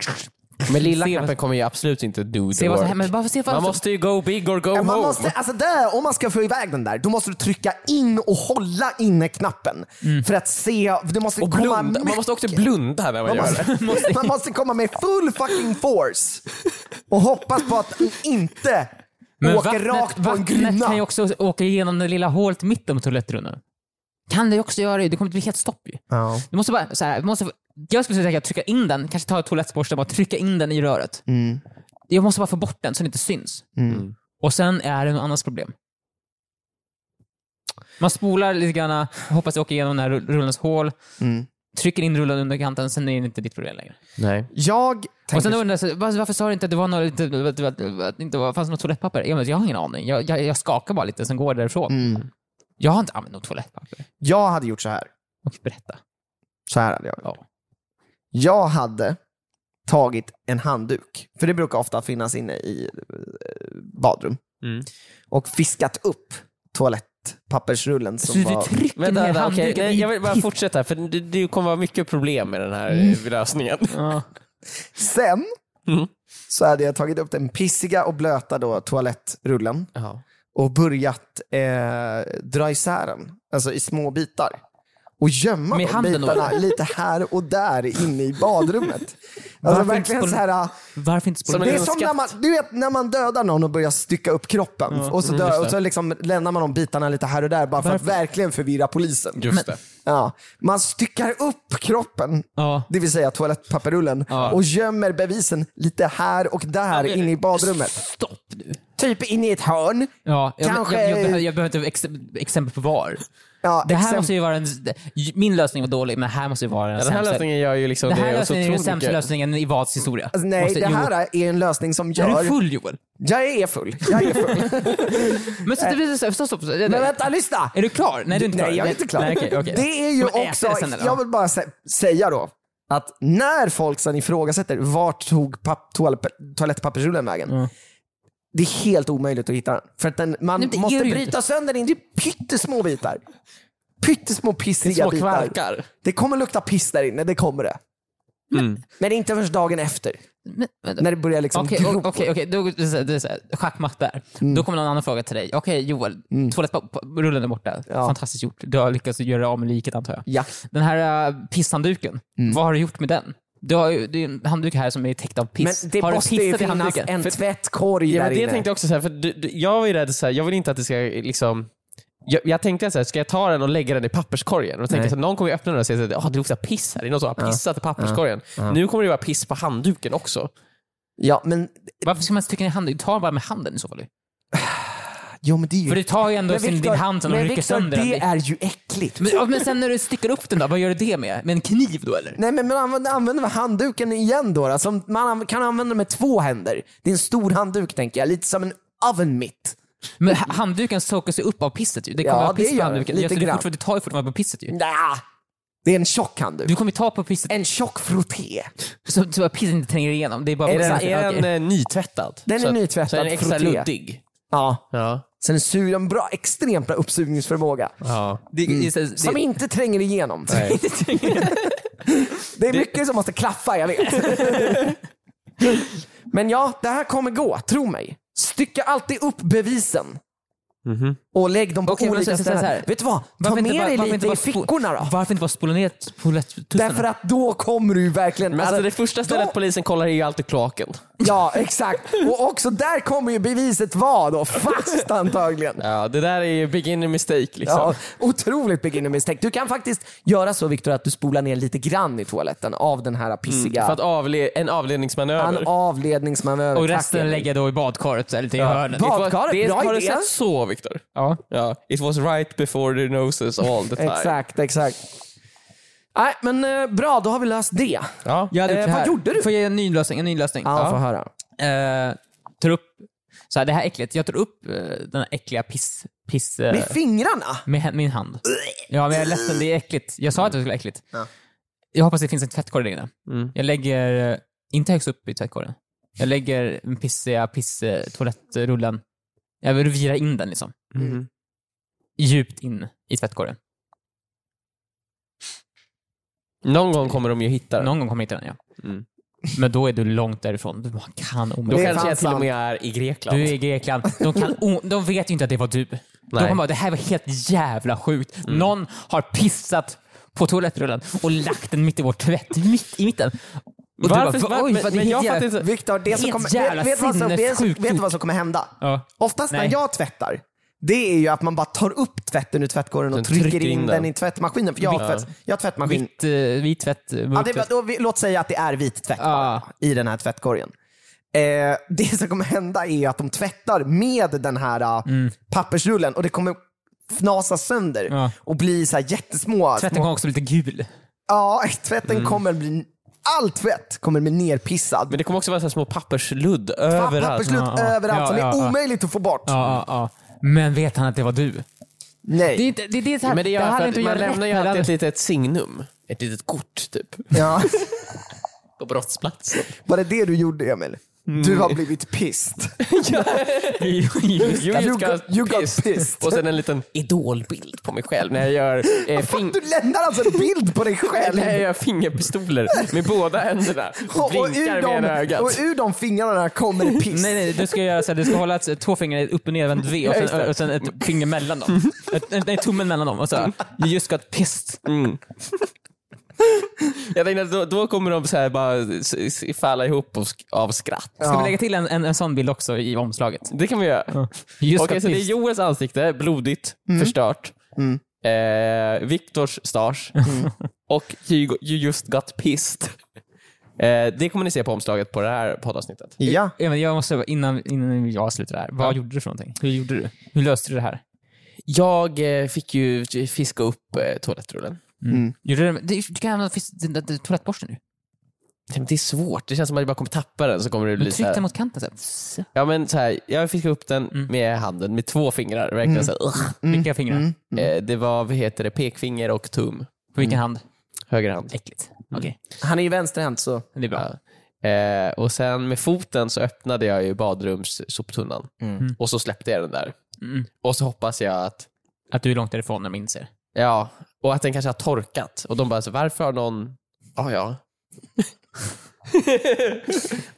Men lilla Se vad- knappen kommer ju absolut inte do the Se vad som work. händer. Men bara se vad Man som- måste ju go big or go Ja, Man home. måste, alltså där, om man ska få iväg den där, då måste du trycka in och hålla inne knappen. Mm. För att se, det måste Och komma blunda. Man måste också blunda när man Man gör det. måste, man måste komma med full fucking force och hoppas på att den inte åker rakt på en vattnet gryna. kan ju också åka igenom det lilla hålet i mitten på toalettrundan. Kan det också göra det. Det kommer inte bli helt stopp ju. Ja. Du måste bara, så här, du måste, jag skulle säga att jag trycka in den, kanske ta toalettborsten och bara trycka in den i röret. Jag måste bara få bort den så den inte syns. Och sen är det något annat problem. Man spolar lite grann, hoppas det åker igenom den här rull- rullens hål, trycker in rullen under kanten, sen är det inte ditt problem längre. Nej. Jag Och sen tänker... undrar jag, så, var- varför sa du inte att det var något, att det- att det- att det inte var, fanns något toalettpapper? Jag, jag har ingen aning. Jag, jag, jag skakar bara lite, sen går jag därifrån. Jag har inte använt något toalettpapper. Jag hade gjort så här. Och berätta. Så här hade jag gjort. Ja. Jag hade tagit en handduk, för det brukar ofta finnas inne i eh, badrum, Mm. och fiskat upp toalettpappersrullen Så som du var... trycker Vänta, ner vänta, okej. handduken Nej, i jag vill bara ditt- fortsätta, för det, det kommer vara mycket problem med den här eh, Mm. lösningen. Ja. Sen Mm. så hade jag tagit upp den pissiga och blöta då, toalettrullen Ja. och börjat eh, dra isär den, alltså i små bitar. Och gömma Med de handen då? bitarna lite här och där inne i badrummet. Alltså inte verkligen spol- så här, Varför inte spola Som ner det är en som skatt. när man, du vet, när man dödar någon och börjar stycka upp kroppen och så, dör, och så liksom lämnar man de bitarna lite här och där bara för att verkligen förvirra polisen. Just det. Ja. Man styckar upp kroppen, Ja. det vill säga toalettpapperrullen, och gömmer bevisen lite här och där inne i badrummet. Stopp nu. Typ inne i ett hörn. Ja, jag, Kanske- jag, jag, behöver, jag behöver inte ex- exempel på var. Ja, Det här exempel- måste ju vara en, min lösning var dålig, men det här måste ju vara den, Ja, den här sämsta. lösningen gör ju liksom det här det och så lösningen är den otroligt sämsta mycket. lösningen i Vads historia. Alltså, nej, Måste- det jo. här är en lösning som Är gör... du full Joel? Jag är full. Jag är full. Men så, det, stopp, stopp, stopp. Men vänta, lyssna! Är du klar? Nej, du är inte klar. Nej, jag är inte klar. Nej, okej, okej. Det är ju Men äter också, det sen, eller? jag vill bara sä- säga då, att när folk sen ifrågasätter vart tog papp, toal- toalettpappersrullen vägen? Det är helt omöjligt att hitta den. För att den, man Nej, men det måste gör det ju bryta sönder den i pyttesmå bitar. Pyttesmå pissiga Små bitar. kvarkar. Det kommer lukta piss där inne, det kommer det. Men inte förrän dagen efter. Men, vänta. När det börjar liksom Okej, gro. o- okej, okej. Då- det är så här- det är så här, Schackmatt där. Mm. Då kommer någon annan fråga till dig. Okej Joel, toalettrullen är borta. Ja. Fantastiskt gjort. Du har lyckats göra av med liket antar jag. Ja. Den här uh, pisshandduken, Mm. vad har du gjort med den? Du har ju, det är en handduk här som är täckt av Men piss. det har måste du ju pissat i finnas handduken? en tvättkorg Ja, där men det inne. tänkte jag också, så här, för du, du, jag var ju rädd, så här, jag vill inte att det ska liksom jag, jag tänkte så här, ska jag ta den och lägga den i papperskorgen? Och tänkte så här, någon kommer ju öppna den och säga att ah det luktar piss här. Det är någon som har pissat i papperskorgen. Nu kommer det vara piss på handduken också. Ja, men, Varför ska man sticka ner handen? Ta bara med handen i så fall. jo, men det är ju... För du tar ju ändå Mm. Men sin, Victor- din hand sen och men rycker Victor, sönder den. det är ju äckligt. Men, ja, men sen när du sticker upp den då, vad gör du det med? Med en kniv då eller? Nej men man använder, använder man handduken igen då? då? Som man anv- kan använda den med två händer. Det är en stor handduk tänker jag, lite som en oven mitt. Men ha- handduken sokas ju upp av pisset ju. Det kommer Ja, vara piss det på gör handduken. det, Ja, så lite du, grann. Mm. fortfarande, du tar ju fortfarande på pisset ju. Nja, det är en tjock handduk. Du kommer ju ta på pisset En tjock frotté. så, så att pisset inte tränger igenom. Det är bara Är den- Sen Okej. är den eh, nytvättad. Den är Så att- nytvättad, Så är den extra frotté. luddig. Ja. Ja. Sen en sur, en bra, extremt bra uppsugningsförmåga. Ja. Det, det, är så- det, mm. Som inte tränger igenom. det är mycket som måste klaffa, jag vet. Men ja, det här kommer gå, tro mig. Stycka alltid upp bevisen. Och lägg dem på Okej, men så- olika så- så här. ställen. Vet du vad? Ta Varför med inte bara- dig varför lite inte i bara spo- fickorna då. Varför inte bara spola ner toalettussarna? Därför att då kommer du verkligen... Men alltså, det första stället då- polisen kollar är ju alltid kloaken. Ja, exakt. Och också där kommer ju beviset vara då, fast antagligen. Ja, det där är ju beginner mistake liksom. Ja, otroligt beginner mistake. Du kan faktiskt göra så Viktor att du spolar ner lite grann i toaletten av den Mm, här pissiga... För att avle- en avledningsmanöver. en avledningsmanöver. Och Tack, resten Emil. lägger jag då i badkaret, så här, lite i hörnet. Bad- It was- Badkaret, det, bra har du idé. sett så Viktor? Ja. Ja. It was right before their noses all the time. Exakt, exakt. Nej, men eh, bra, då har vi löst det. Ja. Jag hade Eh, gjort så vad här. gjorde du? Får jag ge en ny lösning? En ny lösning. Ja, Ja. få höra. Eh, tar upp, så här, det här är äckligt. Jag tar upp eh, den här äckliga piss... piss eh, Med fingrarna? med hä- min hand. Ja, men jag är ledsen. Det är äckligt. Jag sa att det skulle vara äckligt. Jag hoppas det finns en tvättkorg där inne. Mm. Jag lägger, eh, inte högst upp i tvättkorgen. Jag lägger den pissiga piss, eh, toalettrullen. Jag vill vira in den liksom. Mhm. Djupt in i tvättkorgen. Någon gång kommer de ju hitta den. Någon gång kommer jag hitta den, ja. Mm. Men då är du långt därifrån. Du bara kan Då Det omöjligt. är kanske fan jag till och sant. med är i Grekland. Du är i Grekland. De, kan, o- de vet ju inte att det var du. De kommer bara, det här var helt jävla sjukt. Någon har pissat på toalettrullen och lagt den mitt i vår tvätt, mitt i mitten. Och Varför- du bara, var- oj, men- vad det är men helt jag jävla- fattar inte- Viktor, det som Helt kommer, jävla vet, vet, vad som, vet, sinnessjukt vet gjort. vad som kommer hända? Ja. Oftast Nej. när jag tvättar, det är ju att man bara tar upp tvätten ur tvättkorgen och Sen trycker, trycker in in den. den. i tvättmaskinen. För jag har, tvätt, jag har tvättmaskin. Vitt, eh, vit tvätt, Ja, mörk det, tvätt. då, vi, låt säga att det är vit tvätt Ja. i den här tvättkorgen. Eh, det som kommer hända är att de tvättar med den här ah, pappersrullen och det kommer fnasa sönder Mm. Ja. och bli så här jättesmå. Tvätten Mm. små- kommer också bli lite gul. Ja, tvätten kommer bli... All tvätt kommer bli nerpissad. Men det kommer också vara så här små pappersludd Pa- överallt. Papperslut Ja, ja. överallt som Ja, ja, är ja. omöjligt att få bort. Ja, ja, ja. Men vet han att det var du? Nej. Det är, inte, det, är det så här, Men det gör här för är att att man göra lämnar ju rätt, alltid eller? ett litet signum. Ett litet kort typ. Ja. På brottsplatsen. Var det det du gjorde Emil? Mm. Du har blivit pissed. You, You got- you got pissed. Och sen en liten idolbild på mig själv när jag gör, eh, fing- Du lämnar alltså en bild på dig själv. när jag gör fingerpistoler med båda händerna. Och Och, och, ur blinkar med ena de, ögat. och ur de fingrarna kommer det piss. Nej, nej, du ska göra så här, du ska hålla ett, två fingrar i ett upp och nervänt V och Ja, just sen, det. och sen ett finger mellan dem. Ett, ett, nej, tummen mellan dem. Och så, här, you just got pissed. Mm. Jag tänkte att då, då kommer de så här bara s- s- falla ihop av sk- av skratt. Ska vi lägga till en, en, en sån bild också i omslaget? Det kan vi göra. Just Okej, got så det är pissed. Joels ansikte, blodigt, förstört. Eh, Viktors stars och you, go- you just got pissed. Eh, det kommer ni se på omslaget på det här poddavsnittet. Ja. Ja, men jag måste, innan, innan jag avslutar det här, vad gjorde du för någonting? Hur gjorde du? Hur löste du det här? Jag eh, fick ju fiska upp eh, toalettrullen. Gjorde du, du, du kan använda fis- den där toalettborsten nu. Nej, men Typ, Det är svårt, det känns som att jag bara kommer tappa den så kommer det Men bli så tryck den här. mot kanten så här. Så. Ja, men så här. Jag fiskade upp den Mm. med handen, med två fingrar. Verkligen så här, ugh. Vilka fingrar? Eh, det var vad heter det, pekfinger och tum. På vilken hand? Höger hand. Mm. Äckligt. Mm. Okej, Han är ju vänsterhänt så. det är bra. Eh, och sen med foten så öppnade jag ju badrumssoptunnan och så släppte jag den där. Mm. Och så hoppas jag att, Att du är långt därifrån när de inser. ja, och att den kanske har torkat. Och de bara, så, varför har någon, ah, ja,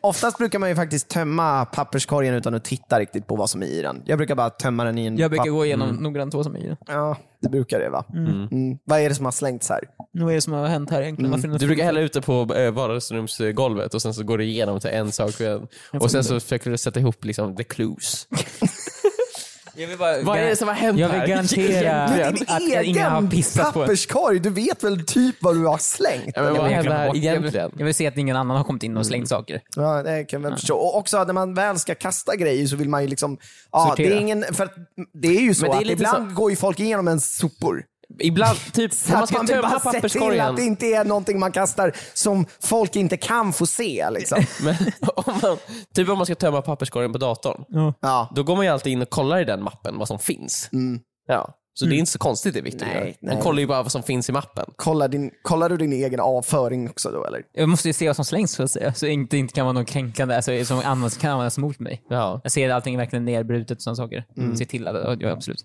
Oftast brukar man ju faktiskt tömma papperskorgen utan att titta riktigt på vad som är i den. Jag brukar bara tömma den i en Jag brukar papp- gå igenom noggrant vad som är i den. Ja, det brukar det va? Mm. Vad är det som har slängts här? Vad är det som har hänt här egentligen? Varför är det Du brukar hälla ut det på eh, vardagsrumsgolvet och sen så går du igenom till en sak för en. Och sen så försöker du sätta ihop liksom the clues. jag vill bara, Vad är det som har hänt Jag här? vill garantera Men att, din att egen ingen har pissat på en. papperskorg, du vet väl typ vad du har slängt? Ja, men Jag vad vill hände glömma här bort. jag, vill, egentligen? jag vill se att ingen annan har kommit in och slängt saker. Ja, det kan jag väl förstå. Och också när man väl ska kasta grejer så vill man ju liksom... Ja, det, Sortera. är ingen, för att, det är ju så Men det är att lite ibland går ju folk igenom ens sopor. Ibland, typ, Så man att ska vill tömma bara se till att papperskorgen. det inte är någonting man kastar som folk inte kan få se. Liksom. Men, om man, typ om man ska tömma papperskorgen på datorn, Ja. då går man ju alltid in och kollar i den mappen vad som finns. Mm. Ja. Så det är inte så konstigt det Victor Nej, gör. Han nej. kollar ju bara vad som finns i mappen. Kollar, din, kollar du din egen avföring också då eller? Jag måste ju se vad som slängs så att säga, så inte, inte kan vara någon kränkande, alltså, som används, kan användas mot mig. Ja, Jag ser allting verkligen nerbrutet och sådana saker. Se till att, ja absolut.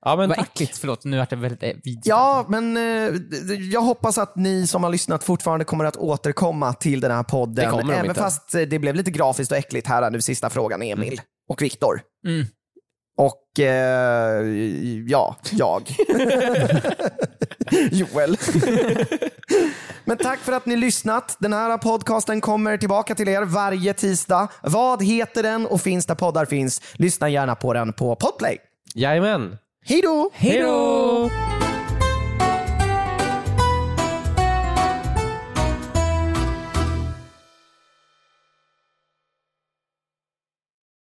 ja men Vad tack. äckligt, förlåt. Nu vart det väldigt eh, vidrigt. Ja, men eh, d- d- jag hoppas att ni som har lyssnat fortfarande kommer att återkomma till den här podden. Det kommer de Även inte. fast eh, det blev lite grafiskt och äckligt här nu, sista frågan, Emil och Viktor. Mm. Och eh, ja, jag. Joel. Men tack för att ni lyssnat. Den här podcasten kommer tillbaka till er varje tisdag. Vad heter den och finns där poddar finns? Lyssna gärna på den på Podplay. Jajamän. Hej då! Hej då!